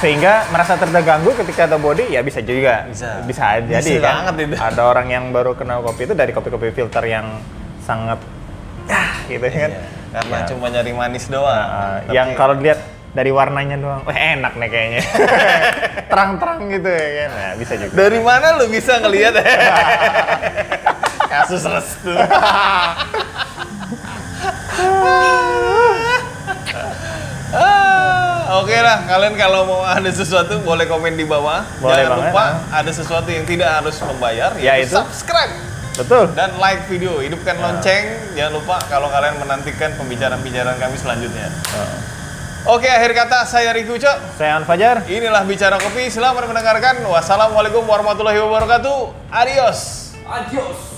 Speaker 2: Sehingga merasa terganggu ketika ada body ya bisa juga.
Speaker 1: Bisa.
Speaker 2: jadi
Speaker 1: Bisa
Speaker 2: kan.
Speaker 1: banget itu.
Speaker 2: Ada orang yang baru kenal kopi itu dari kopi-kopi filter yang sangat ah gitu kan.
Speaker 1: Iya, karena
Speaker 2: Ya.
Speaker 1: cuma nyari manis doang
Speaker 2: Uh,
Speaker 1: Tapi-
Speaker 2: yang kalau dilihat dari warnanya doang, wah enak nih kayaknya. <laughs> Terang-terang gitu ya kan. Nah, bisa juga.
Speaker 1: dari mana lu bisa ngelihat eh? kasus restu Ah, Oke lah, kalian kalau mau ada sesuatu boleh komen di bawah.
Speaker 2: Boleh
Speaker 1: Jangan
Speaker 2: banget,
Speaker 1: lupa
Speaker 2: ah. Ya,
Speaker 1: ada sesuatu yang tidak harus membayar, yaitu
Speaker 2: Yaitu?
Speaker 1: subscribe
Speaker 2: Betul.
Speaker 1: dan like video,
Speaker 2: Ah.
Speaker 1: hidupkan lonceng. Jangan lupa kalau kalian menantikan pembicaraan-pembicaraan kami selanjutnya.
Speaker 2: Uh,
Speaker 1: Oke, akhir kata saya Riki Ucok.
Speaker 2: Saya An Fajar.
Speaker 1: Inilah bicara kopi. Selamat mendengarkan. Wassalamualaikum warahmatullahi wabarakatuh. Adios.
Speaker 3: Adios.